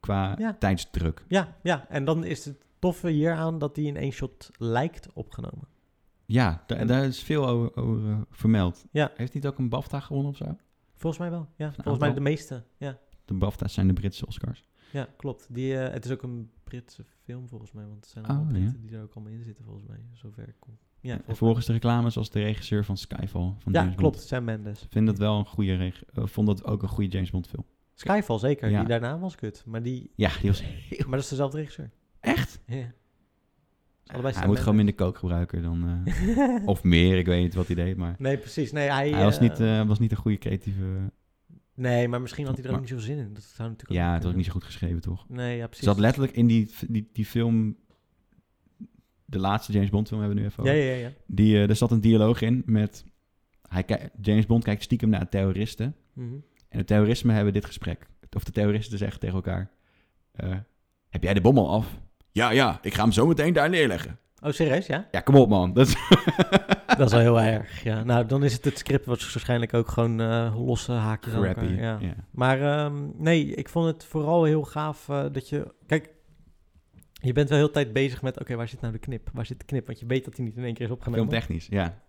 S2: qua
S1: Ja.
S2: tijdsdruk.
S1: Ja, ja, en dan is het toffe hieraan dat die in één shot lijkt opgenomen.
S2: Ja, daar,
S1: En-
S2: daar is veel over, over, eh, vermeld.
S1: Ja.
S2: Heeft hij het ook een BAFTA gewonnen of zo?
S1: Volgens mij wel, ja. Volgens
S2: aantal.
S1: mij de meeste, ja.
S2: De BAFTA's zijn de Britse Oscars.
S1: Ja, klopt. Die, eh, het is ook een Britse film, volgens mij. Want het zijn
S2: Oh,
S1: allemaal
S2: ja.
S1: Britten die er ook allemaal in zitten, volgens mij. Zover ik kom. Ja,
S2: en
S1: volgens
S2: volgens de reclames was de regisseur van Skyfall. Van
S1: mij. ja
S2: James
S1: klopt.
S2: Bond.
S1: Sam Mendes.
S2: Ik vind dat wel een goede reg- eh, vond dat ook een goede James Bond film.
S1: Skyfall, zeker.
S2: Ja.
S1: Die daarna was kut. Maar, die,
S2: Ja, die was heel...
S1: maar dat is dezelfde regisseur.
S2: Echt?
S1: Ja. Allebei Sam
S2: Hij moet
S1: Mendes.
S2: gewoon minder kook gebruiken dan... eh, of meer, ik weet niet wat hij deed, maar...
S1: Nee, precies. Nee, hij,
S2: Hij was
S1: eh,
S2: niet, eh, was niet een goede creatieve...
S1: Nee, maar misschien had hij er ook
S2: Maar-
S1: niet zoveel zin in. Dat zou natuurlijk
S2: Ja, het
S1: ook
S2: was ook
S1: kunnen.
S2: niet zo goed geschreven, toch?
S1: Nee, ja,
S2: Ze
S1: precies.
S2: zat letterlijk in die, die, die film... De laatste James Bond film hebben we nu even
S1: Ja,
S2: over.
S1: ja, ja.
S2: Die, eh, er zat een dialoog in met... Hij ki- James Bond kijkt stiekem naar terroristen.
S1: Mhm.
S2: En de terroristen hebben dit gesprek. Of de terroristen zeggen tegen elkaar... eh, heb jij de bom al af? Ja, ja, ik ga hem zo meteen daar neerleggen.
S1: Oh, serieus, ja?
S2: Ja, kom op man. Dat is-
S1: Dat is wel heel erg, ja. Nou, dan is het het script wat waarschijnlijk ook gewoon eh, losse haakjes aan
S2: crappy.
S1: elkaar. eh, Ja.
S2: Ja.
S1: Maar ehm, nee, ik vond het vooral heel gaaf eh, dat je... Kijk, je bent wel heel de tijd bezig met... Oké, waar zit nou de knip? Waar zit de knip? Want je weet dat hij niet in één keer is opgenomen.
S2: Filmtechnisch, ja.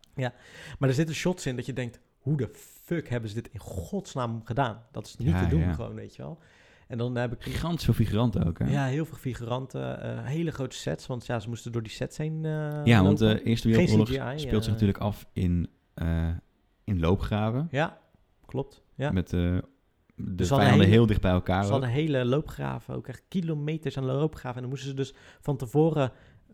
S1: Maar er zitten shots in dat je denkt... Hoe de fuck hebben ze dit in godsnaam gedaan? Dat is niet
S2: Ja,
S1: te doen
S2: ja.
S1: gewoon, weet je wel. En dan heb ik
S2: Gigantisch veel figuranten ook, hè?
S1: Ja, heel veel figuranten, eh, hele grote sets, want ja, ze moesten door die sets heen. eh,
S2: Ja, want
S1: lopen.
S2: de Eerste Wereldoorlog
S1: Geen CGI,
S2: speelt zich
S1: eh.
S2: natuurlijk af in, eh, in loopgraven.
S1: ja, klopt. Ja.
S2: Met eh, de
S1: Dus ze hadden
S2: vijanden
S1: hele-
S2: heel dicht bij elkaar.
S1: Ze hadden hele loopgraven, ook echt kilometers aan loopgraven. En dan moesten ze dus van tevoren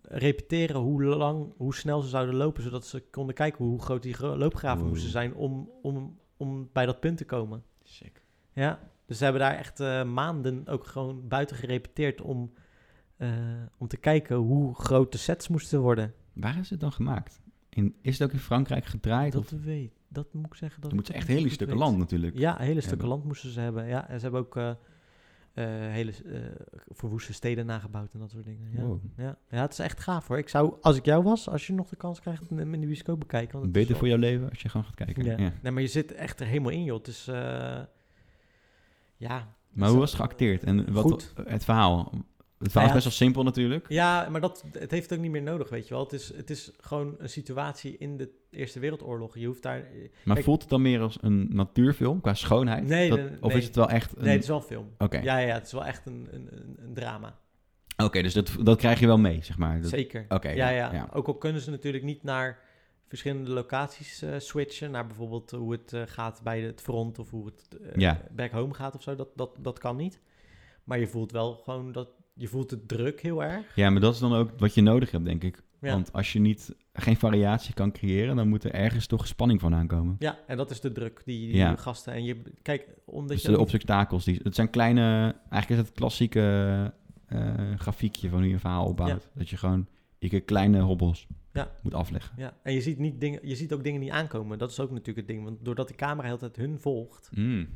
S1: repeteren hoe lang, hoe snel ze zouden lopen, zodat ze konden kijken hoe groot die gro- loopgraven
S2: Wow.
S1: moesten zijn om, om, om bij dat punt te komen.
S2: Sick.
S1: Ja, dus ze hebben daar echt eh, maanden ook gewoon buiten gerepeteerd om, eh, om te kijken hoe groot de sets moesten worden.
S2: Waar is het dan gemaakt? In, is het ook in Frankrijk gedraaid?
S1: Dat
S2: of,
S1: weet, dat moet ik zeggen. Dat
S2: dan moeten
S1: ik
S2: ze
S1: niet
S2: echt hele
S1: goed
S2: stukken
S1: weet.
S2: land natuurlijk.
S1: Ja, hele stukken
S2: hebben.
S1: land moesten ze hebben. Ja, en ze hebben ook eh, eh, hele eh, verwoeste steden nagebouwd en dat soort dingen. Ja.
S2: Wow.
S1: Ja. ja, het is echt gaaf hoor. Ik zou, als ik jou was, als je nog de kans krijgt, hem in de bioscoop bekijken. Want het is
S2: Beter
S1: wel-
S2: voor jouw leven als je gewoon gaat kijken.
S1: Ja.
S2: Ja.
S1: Nee, maar je zit echt er helemaal in joh. Het is, eh, ja.
S2: Maar hoe was het geacteerd? En wat
S1: Goed.
S2: het verhaal? Het verhaal
S1: ja,
S2: is best wel simpel natuurlijk.
S1: Ja, maar dat, het heeft ook niet meer nodig, weet je wel. Het is, het is gewoon een situatie in de Eerste Wereldoorlog. Je hoeft daar...
S2: Maar
S1: Kijk-
S2: voelt het dan meer als een natuurfilm qua schoonheid?
S1: Nee,
S2: Dat-
S1: nee,
S2: of
S1: nee.
S2: is het wel echt een...
S1: Nee, het is wel een film.
S2: Oké,
S1: Ja, ja, het is wel echt een, een, een- een drama.
S2: Oké, dus dat, dat krijg je wel mee, zeg maar. Dat-
S1: Zeker.
S2: Oké,
S1: ja, ja,
S2: ja.
S1: Ook al kunnen ze natuurlijk niet naar verschillende locaties eh, switchen. Naar bijvoorbeeld hoe het eh, gaat bij het front of hoe het eh,
S2: Ja.
S1: back home gaat of zo. Dat, dat, dat kan niet. Maar je voelt wel gewoon dat... Je voelt de druk heel erg.
S2: Ja, maar dat is dan ook wat je nodig hebt, denk ik.
S1: Ja.
S2: Want als je niet, geen variatie kan creëren, dan moet er ergens toch spanning van aankomen.
S1: Ja, en dat is de druk die, die
S2: Ja.
S1: gasten... En je... Kijk, omdat
S2: Dus
S1: je...
S2: de
S1: ook niet-
S2: obstakels, die, het zijn kleine, eigenlijk is het klassieke eh, grafiekje van hoe je een verhaal opbouwt. Dat je gewoon je keer kleine hobbels
S1: Ja.
S2: moet afleggen.
S1: Ja, en je ziet, niet dingen, je ziet ook dingen niet aankomen. Dat is ook natuurlijk het ding. Want doordat de camera de hele tijd hun volgt...
S2: Mm.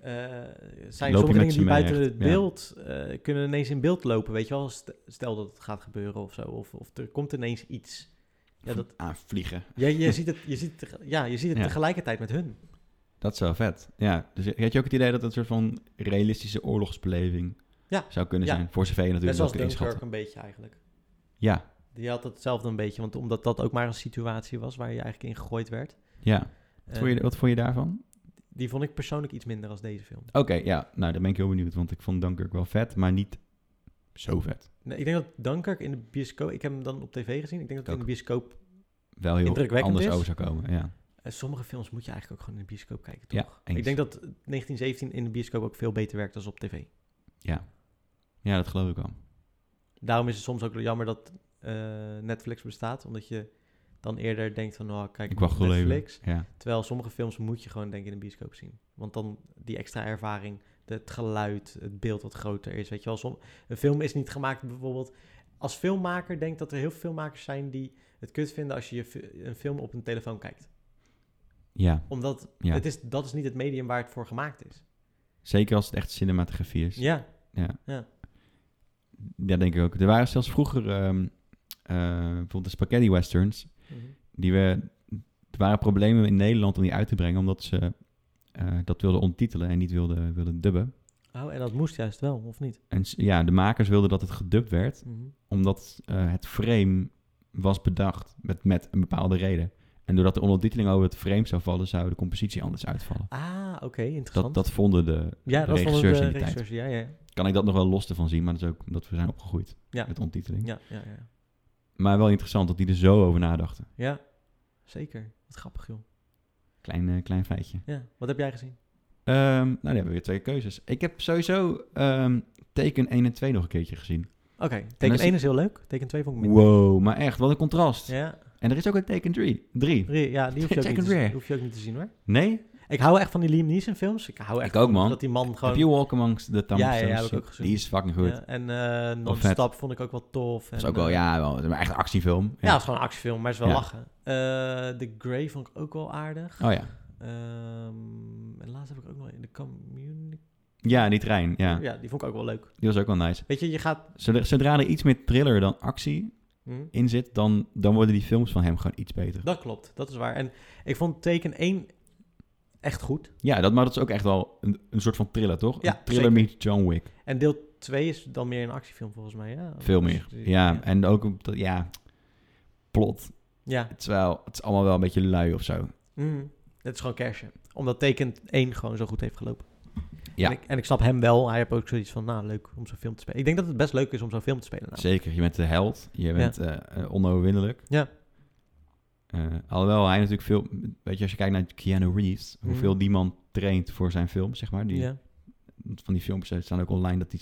S1: eh, eh, zijn
S2: met
S1: sommige dingen
S2: ze
S1: die
S2: mee
S1: buiten
S2: echt,
S1: het
S2: ja.
S1: beeld eh, kunnen ineens in beeld lopen. Weet je wel, St- stel dat het gaat gebeuren of zo. Of, of er komt ineens iets. Ja, dat,
S2: Aanvliegen.
S1: ja, je ziet het, je ziet het, tege- ja, je ziet het
S2: Ja.
S1: tegelijkertijd met hun.
S2: Dat is wel vet. Ja, dus had je ook het idee dat het een soort van realistische oorlogsbeleving
S1: Ja.
S2: zou kunnen
S1: Ja.
S2: zijn? Voor zover je
S1: Net
S2: natuurlijk dat
S1: zoals
S2: kunt
S1: Dunkirk
S2: inschatten.
S1: een beetje eigenlijk.
S2: Ja,
S1: Die had hetzelfde een beetje, want omdat dat ook maar een situatie was waar je eigenlijk in gegooid werd.
S2: ja. Wat,
S1: Eh,
S2: vond je, wat vond je daarvan?
S1: Die vond ik persoonlijk iets minder als deze film.
S2: Oké, ja. Nou, daar ben ik heel benieuwd, want ik vond Dunkirk wel vet, maar niet zo vet.
S1: Nee, ik denk dat Dunkirk in de bioscoop... Ik heb hem dan op tv gezien. Ik denk dat
S2: Ik
S1: in de bioscoop...
S2: Wel heel
S1: Indrukwekkend
S2: anders
S1: is.
S2: over zou komen, ja.
S1: eh, sommige films moet je eigenlijk ook gewoon in de bioscoop kijken, toch?
S2: Ja, eens.
S1: ik denk dat 1917 in de bioscoop ook veel beter werkt dan op tv.
S2: ja, dat geloof ik wel.
S1: Daarom is het soms ook jammer dat eh, Netflix bestaat. Omdat je dan eerder denkt van... Oh, kijk,
S2: Ik wacht wel even.
S1: Netflix.
S2: Ja.
S1: Terwijl sommige films moet je gewoon denk ik in de bioscoop zien. Want dan die extra ervaring, de- het geluid, het beeld wat groter is. Weet je wel, som, een film is niet gemaakt bijvoorbeeld... Als filmmaker denk ik dat er heel veel filmmakers zijn die het kut vinden als je, je fi- een film op een telefoon kijkt.
S2: ja,
S1: Omdat
S2: Ja.
S1: het is, dat is niet het medium waar het voor gemaakt is.
S2: zeker als het echt cinematografie is.
S1: Ja,
S2: Ja, denk ik ook. Er waren zelfs vroeger ehm, eh, bijvoorbeeld de spaghetti westerns.
S1: Mhm.
S2: Die we, er waren problemen in Nederland om die uit te brengen, omdat ze eh, dat wilden onttitelen en niet wilden, wilden dubben.
S1: oh, en dat moest juist wel, of niet?
S2: En s- ja, de makers wilden dat het gedubt werd, omdat eh, het frame was bedacht met, met een bepaalde reden. En doordat de ondertiteling over het frame zou vallen, zou de compositie anders uitvallen.
S1: Ah, oké,
S2: Dat,
S1: interessant.
S2: dat vonden de,
S1: ja,
S2: de
S1: dat vonden
S2: regisseurs
S1: de
S2: in die tijd.
S1: regisseurs, ja, ja.
S2: Kan ik dat nog wel los ervan zien, maar dat is ook omdat we zijn opgegroeid
S1: Ja.
S2: met onttiteling.
S1: Ja, ja, ja.
S2: Maar wel interessant dat die er zo over nadachten.
S1: ja, zeker. Wat grappig, joh.
S2: Klein, eh, klein feitje.
S1: Ja, wat heb jij gezien?
S2: Ehm, nou, dan hebben we weer twee keuzes. Ik heb sowieso ehm, teken 1 en 2 nog een keertje gezien.
S1: Oké,
S2: En
S1: teken
S2: als je-
S1: 1 is heel leuk. Teken 2 vond ik minder.
S2: Wow, maar echt, wat een contrast.
S1: Ja,
S2: En er is ook een teken 3. 3.
S1: re- ja, die hoef je, ook
S2: Check
S1: niet te,
S2: and rare.
S1: zien- hoef je ook niet te zien hoor.
S2: Nee?
S1: Ik hou echt van die Liam Neeson films. Ik hou echt
S2: Ik ook,
S1: van
S2: man.
S1: dat die man gewoon...
S2: Heb je Walk Amongst the Thumbs?
S1: Ja, ja, ja, heb ik ook gezien.
S2: Die is fucking goed.
S1: Ja, en eh
S2: Wel vet.
S1: Non-Stop vond ik ook wel tof.
S2: Dat
S1: en,
S2: is ook wel,
S1: eh,
S2: ja, wel, maar echt een actiefilm.
S1: Ja, het is gewoon een actiefilm, maar het is wel
S2: Ja.
S1: lachen. Eh The Grey vond ik ook wel aardig.
S2: Oh ja.
S1: Ehm, en laatst heb ik ook nog in de community.
S2: Ja, die trein. Ja.
S1: Ja, die vond ik ook wel leuk.
S2: Die was ook wel nice.
S1: Weet je, je gaat.
S2: Zodra, zodra er iets meer thriller dan actie
S1: Hm?
S2: in zit, dan, dan worden die films van hem gewoon iets beter.
S1: Dat klopt, dat is waar. En ik vond teken 1 echt goed.
S2: Ja, dat, maar dat is ook echt wel een, een soort van thriller, toch?
S1: Ja,
S2: Een thriller
S1: zeker.
S2: meets John Wick.
S1: En deel 2 is dan meer een actiefilm volgens mij. Ja,
S2: Veel meer.
S1: Dus,
S2: Ja, en ook, op dat- ja, plot.
S1: ja.
S2: Het is, wel, het is allemaal wel een beetje lui of zo.
S1: Mm. Het is gewoon kersen. Omdat teken 1 gewoon zo goed heeft gelopen.
S2: Ja.
S1: En ik, en ik snap hem wel. Hij heeft ook zoiets van, nou, leuk om zo'n film te spelen. Ik denk dat het best leuk is om zo'n film te spelen. namelijk.
S2: Zeker, je bent de held. Je bent eh, eh, onoverwinnelijk.
S1: Ja.
S2: Eh, alhoewel hij natuurlijk veel... Weet je, als je kijkt naar Keanu Reeves...
S1: Mhm.
S2: hoeveel die man traint voor zijn film, zeg maar. Die,
S1: Ja.
S2: Van die filmpjes eh, staan ook online dat hij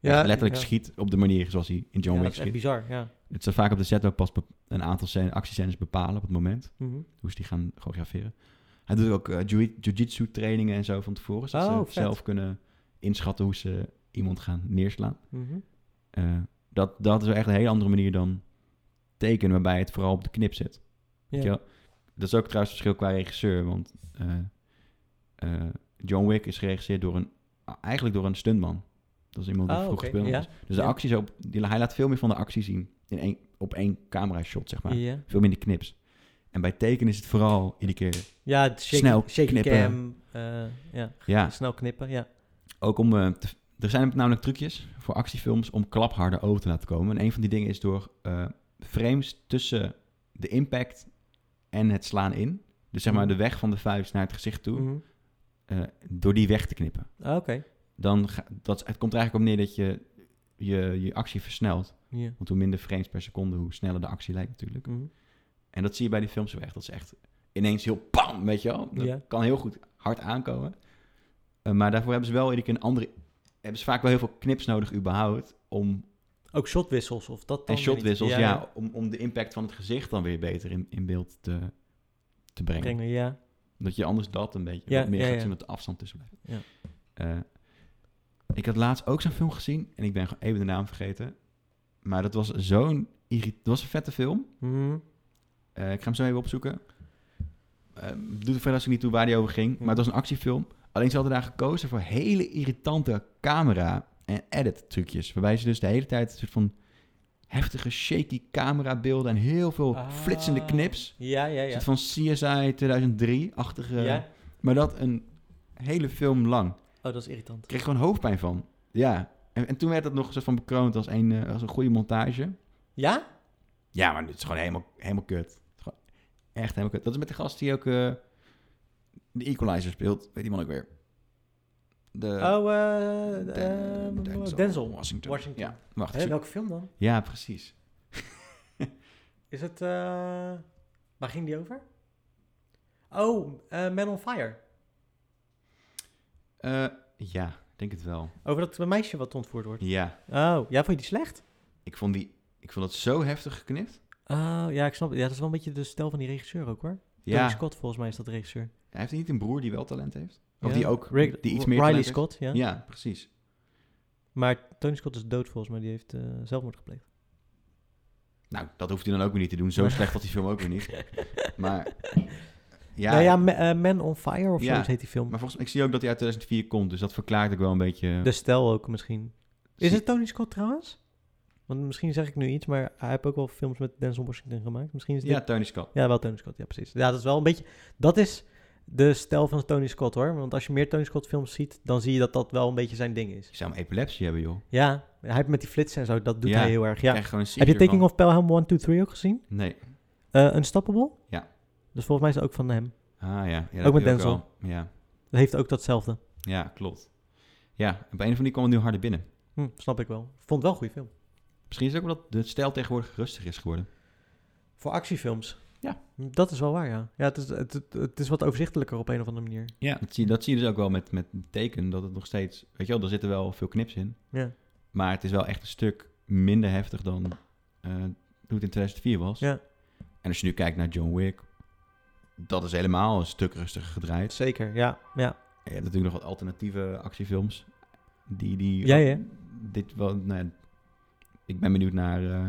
S1: Ja,
S2: echt
S1: ja.
S2: letterlijk schiet... op de manier zoals hij in John
S1: Ja, dat
S2: Wick
S1: is echt
S2: schiet.
S1: bizar, ja.
S2: Het zou vaak op de set ook pas be- een aantal scène- actiescènes bepalen op het moment.
S1: Mhm.
S2: Hoe ze die gaan choreograferen. Hij doet ook eh, jiu- jiu-jitsu trainingen en zo van tevoren. Zodat
S1: Oh,
S2: ze
S1: vet.
S2: zelf kunnen inschatten hoe ze iemand gaan neerslaan.
S1: Mhm.
S2: Eh, dat, dat is echt een hele andere manier dan tekenen, waarbij het vooral op de knip zit. Weet je
S1: Ja.
S2: wel? Dat is ook trouwens het verschil qua regisseur, want eh, eh, John Wick is geregisseerd door een, eigenlijk door een stuntman. Dat is iemand die
S1: Oh,
S2: vroeg
S1: oké,
S2: speelde.
S1: ja.
S2: was. Dus de
S1: Ja.
S2: acties op, die, hij laat veel meer van de actie zien in één, op één camera shot, zeg maar.
S1: Ja.
S2: Veel minder knips. En bij tekenen is het vooral iedere keer,
S1: Ja, het shaky,
S2: Snel
S1: shaky
S2: knippen. Ah.
S1: cam. eh, ja.
S2: ja,
S1: Snel knippen, ja.
S2: ook om... eh, te- er zijn namelijk trucjes voor actiefilms om klapharder over te laten komen. En een van die dingen is door eh, frames tussen de impact en het slaan in. Dus zeg maar de weg van de vuist naar het gezicht toe,
S1: Mhm.
S2: eh, door die weg te knippen.
S1: Ah, Oké.
S2: Dan ga- dat, het komt er eigenlijk op neer dat je, je je actie versnelt.
S1: Ja.
S2: Want hoe minder frames per seconde, hoe sneller de actie lijkt natuurlijk.
S1: Mhm.
S2: En dat zie je bij die films zo echt. Dat is echt ineens heel bam, weet je wel. Dat
S1: Ja.
S2: kan heel goed hard aankomen. Eh, maar daarvoor hebben ze wel iedere keer een andere... Hebben ze vaak wel heel veel knips nodig überhaupt. Om,
S1: Ook shotwissels of dat dan
S2: en
S1: weer niet.
S2: shotwissels, ja. om, om de impact van het gezicht dan weer beter in, in beeld te, te brengen.
S1: Brengen, ja.
S2: Dat je anders dat een beetje
S1: Ja,
S2: wat meer
S1: ja,
S2: gaat
S1: ja.
S2: zien dat de afstand tussen blijft.
S1: Ja.
S2: Eh, ik had laatst ook zo'n film gezien. En ik ben gewoon even de naam vergeten. Maar dat was zo'n... irrit- Dat was een vette film.
S1: Mhm.
S2: Eh, ik ga hem zo even opzoeken. Eh, doet er verder als ik niet toe waar die over ging. Maar het was een actiefilm. Alleen ze hadden daar gekozen voor hele irritante camera- en edit-trucjes. Waarbij ze dus de hele tijd een soort van heftige, shaky camerabeelden en heel veel
S1: Ah.
S2: flitsende knips.
S1: Ja, ja, ja.
S2: Een soort van CSI 2003-achtige...
S1: ja?
S2: Maar dat een hele film lang.
S1: Oh, dat is irritant.
S2: Ik kreeg gewoon hoofdpijn van. Ja. En, en toen werd dat nog een soort van bekroond als een, eh, als een goede montage.
S1: Ja?
S2: Ja, maar het is gewoon helemaal, helemaal kut. Het is gewoon echt helemaal kut. Dat is met de gast die ook eh, de Equalizer speelt. Weet die man ook weer? De,
S1: oh, eh,
S2: Den-
S1: ehm, Denzel.
S2: Washington.
S1: Washington.
S2: Ja, wacht. ik
S1: Hè,
S2: zoek-
S1: welke film dan?
S2: Ja, precies.
S1: Is het... eh, waar ging die over? Oh, eh Man on Fire.
S2: Eh, ja, ik denk het wel.
S1: Over dat meisje wat ontvoerd wordt.
S2: Ja,
S1: Oh, ja, vond je die slecht?
S2: ik vond, die, ik vond dat zo heftig geknipt.
S1: Oh, ja, ik snap het. Ja, dat is wel een beetje de stijl van die regisseur ook, hoor.
S2: Ja,
S1: Tony
S2: hij
S1: Scott, volgens mij, is dat de regisseur.
S2: heeft niet een broer die wel talent heeft. Of
S1: Ja.
S2: die ook,
S1: Rick-
S2: die iets
S1: Riley
S2: meer talent heeft?
S1: Scott, ja.
S2: Ja, precies.
S1: Maar Tony Scott is dood, volgens mij. Die heeft eh, zelfmoord gepleegd.
S2: Nou, dat hoeft hij dan ook weer niet te doen. Zo slecht was die film ook weer niet. Maar ja,
S1: Nou ja, Ma- eh, Man on Fire of
S2: Ja.
S1: zo heet die film.
S2: maar volgens mij, ik zie ook dat hij uit 2004 komt. Dus dat verklaart ook wel een beetje...
S1: De stijl ook misschien. Dus Is
S2: Zie-
S1: het Tony Scott trouwens? Want misschien zeg ik nu iets, maar hij heeft ook wel films met Denzel Washington gemaakt. Misschien is dit...
S2: Ja,
S1: Ja,
S2: Tony Scott.
S1: wel Tony Scott. Ja, precies. Ja, dat is wel een beetje... Dat is de stijl van Tony Scott, hoor. Want als je meer Tony Scott films ziet, dan zie je dat dat wel een beetje zijn ding is.
S2: Je zou hem epilepsie hebben, joh.
S1: Ja, hij heeft met die flitsen en zo, dat doet
S2: Ja.
S1: hij heel erg.
S2: Ja.
S1: Ja.
S2: Krijg gewoon een
S1: Heb je
S2: seizure
S1: Taking
S2: van.
S1: of Pelham 1, 2, 3 ook gezien?
S2: Nee.
S1: Eh Unstoppable?
S2: Ja.
S1: Dus volgens mij is het ook van hem.
S2: Ah ja. ja
S1: Ook
S2: dat
S1: met
S2: doe ik
S1: Denzel.
S2: wel. ja.
S1: Dat heeft ook datzelfde.
S2: ja, klopt. Ja, op een of andere manier kwam het nu harder binnen.
S1: Hm, snap ik wel. Vond het wel een goede film.
S2: Misschien is het ook omdat de stijl tegenwoordig rustig is geworden.
S1: Voor actiefilms.
S2: Ja.
S1: Dat is wel waar, ja. Ja, het is, het, het, het is wat overzichtelijker op een of andere manier.
S2: Ja. Dat zie, dat zie je dus ook wel met, met teken, dat het nog steeds... Weet je wel, er zitten wel veel knips in.
S1: Ja.
S2: Maar het is wel echt een stuk minder heftig dan eh, toen het in 2004 was.
S1: Ja.
S2: En als je nu kijkt naar John Wick, dat is helemaal een stuk rustiger gedraaid.
S1: Zeker, ja. ja.
S2: En je hebt natuurlijk nog wat alternatieve actiefilms. Die, die
S1: Ja, ja.
S2: Dit wel, nou, ja, ik ben benieuwd naar eh,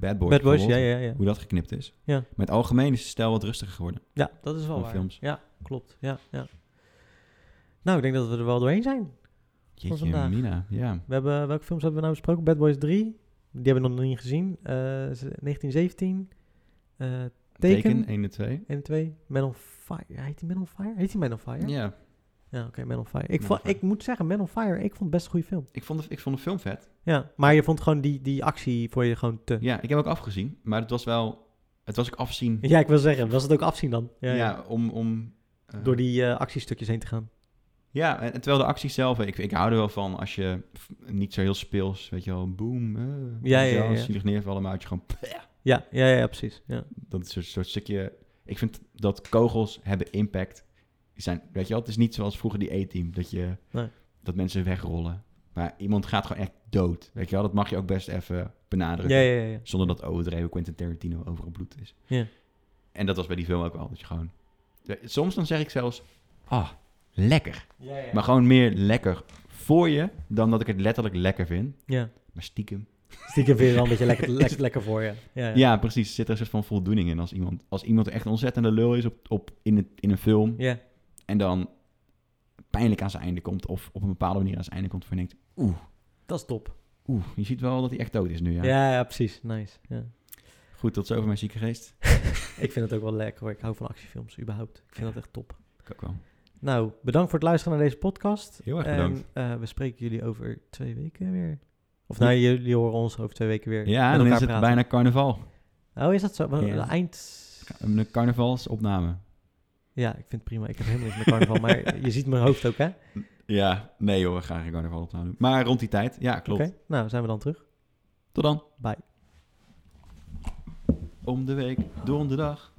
S2: Bad Boys.
S1: Bad Boys, ja,
S2: bijvoorbeeld,
S1: ja, ja.
S2: Hoe dat geknipt is.
S1: Ja.
S2: Maar in het algemeen is de stijl wat rustiger geworden.
S1: Ja, dat is wel
S2: Van
S1: waar.
S2: films.
S1: Ja, klopt. Ja, ja. Nou, ik denk dat we er wel doorheen zijn.
S2: Jeetje,
S1: vandaag.
S2: Mina. Ja.
S1: We hebben, welke films hebben we nou besproken? Bad Boys 3. Die hebben we nog niet gezien. Eh, z- 1917. eh Taken.
S2: Teken 1 en 2.
S1: 1 en 2. Man on Fire. Heet die Man on Fire? Heet die Man on Fire?
S2: Ja,
S1: Ah, Ja, oké, Man on Fire. Ik,
S2: Man
S1: vond,
S2: on Fire.
S1: ik moet zeggen, Man on Fire, ik vond het best een goede film.
S2: ik vond, de, ik vond de film vet.
S1: Ja, maar je vond gewoon die, die actie voor je gewoon te... Ja,
S2: Ja, ik heb ook afgezien, maar het was wel, het was ook afzien. Ja,
S1: ik wil zeggen, was het ook afzien dan? Ja, ja.
S2: om, om eh,
S1: Door die eh, actiestukjes heen te gaan.
S2: Ja, en en terwijl de actie zelf, ik, ik hou er wel van als je f- niet zo heel speels, weet je wel, boom, eh,
S1: Ja,
S2: weet je
S1: ja,
S2: wel,
S1: ja.
S2: zielig neervallen, maar uit je gewoon,
S1: Ja, ja, ja, ja, precies. Ja.
S2: dat is een soort stukje. Ik vind dat kogels hebben impact. Die Zijn, weet je wel, het is niet zoals vroeger die E-team, dat je
S1: Nee.
S2: dat mensen wegrollen, maar iemand gaat gewoon echt dood, weet je wel, dat mag je ook best even benadrukken.
S1: Ja, ja, ja, ja.
S2: Zonder dat overdreven Quentin Tarantino overal bloed is.
S1: Ja.
S2: En dat was bij die film ook wel. Dat je gewoon... Soms dan zeg ik zelfs... Ah, lekker. Maar gewoon meer lekker voor je... dan dat ik het letterlijk lekker vind.
S1: Ja.
S2: Maar stiekem...
S1: Stiekem vind je wel een beetje lekker, lekker, lekker voor je. Ja,
S2: Ja,
S1: ja.
S2: precies. Zit er een soort van voldoening in. Als iemand, als iemand echt een ontzettende lul is op, op, in, het, in een film...
S1: Ja.
S2: en dan pijnlijk aan zijn einde komt... of op een bepaalde manier aan zijn einde komt... waarvan je denkt...
S1: dat is top.
S2: Oeh, je ziet wel dat hij echt dood is nu, ja.
S1: Ja, ja, precies. Nice. Ja.
S2: Goed, tot zover mijn zieke geest.
S1: Ik vind het ook wel lekker hoor. Ik hou van actiefilms, überhaupt. Ik vind dat echt top.
S2: Ik ook wel.
S1: Nou, bedankt voor het luisteren naar deze podcast.
S2: Heel erg
S1: En,
S2: bedankt.
S1: eh, we spreken jullie over twee weken weer. Of nou, jullie horen ons over twee weken weer.
S2: Ja,
S1: met
S2: dan is
S1: elkaar
S2: het
S1: praten.
S2: bijna carnaval.
S1: Oh, is dat zo? Wa-
S2: Ja.
S1: Eind.
S2: Een carnavalsopname.
S1: Ja, ik vind het prima. Ik heb helemaal niks met carnaval, maar je ziet mijn hoofd ook, hè? Oké,
S2: Ja, nee joh, we gaan geen carnavalopname doen. Maar rond die tijd, ja, klopt.
S1: nou zijn we dan terug.
S2: Tot dan.
S1: Bye.
S2: Om de week, donderdag.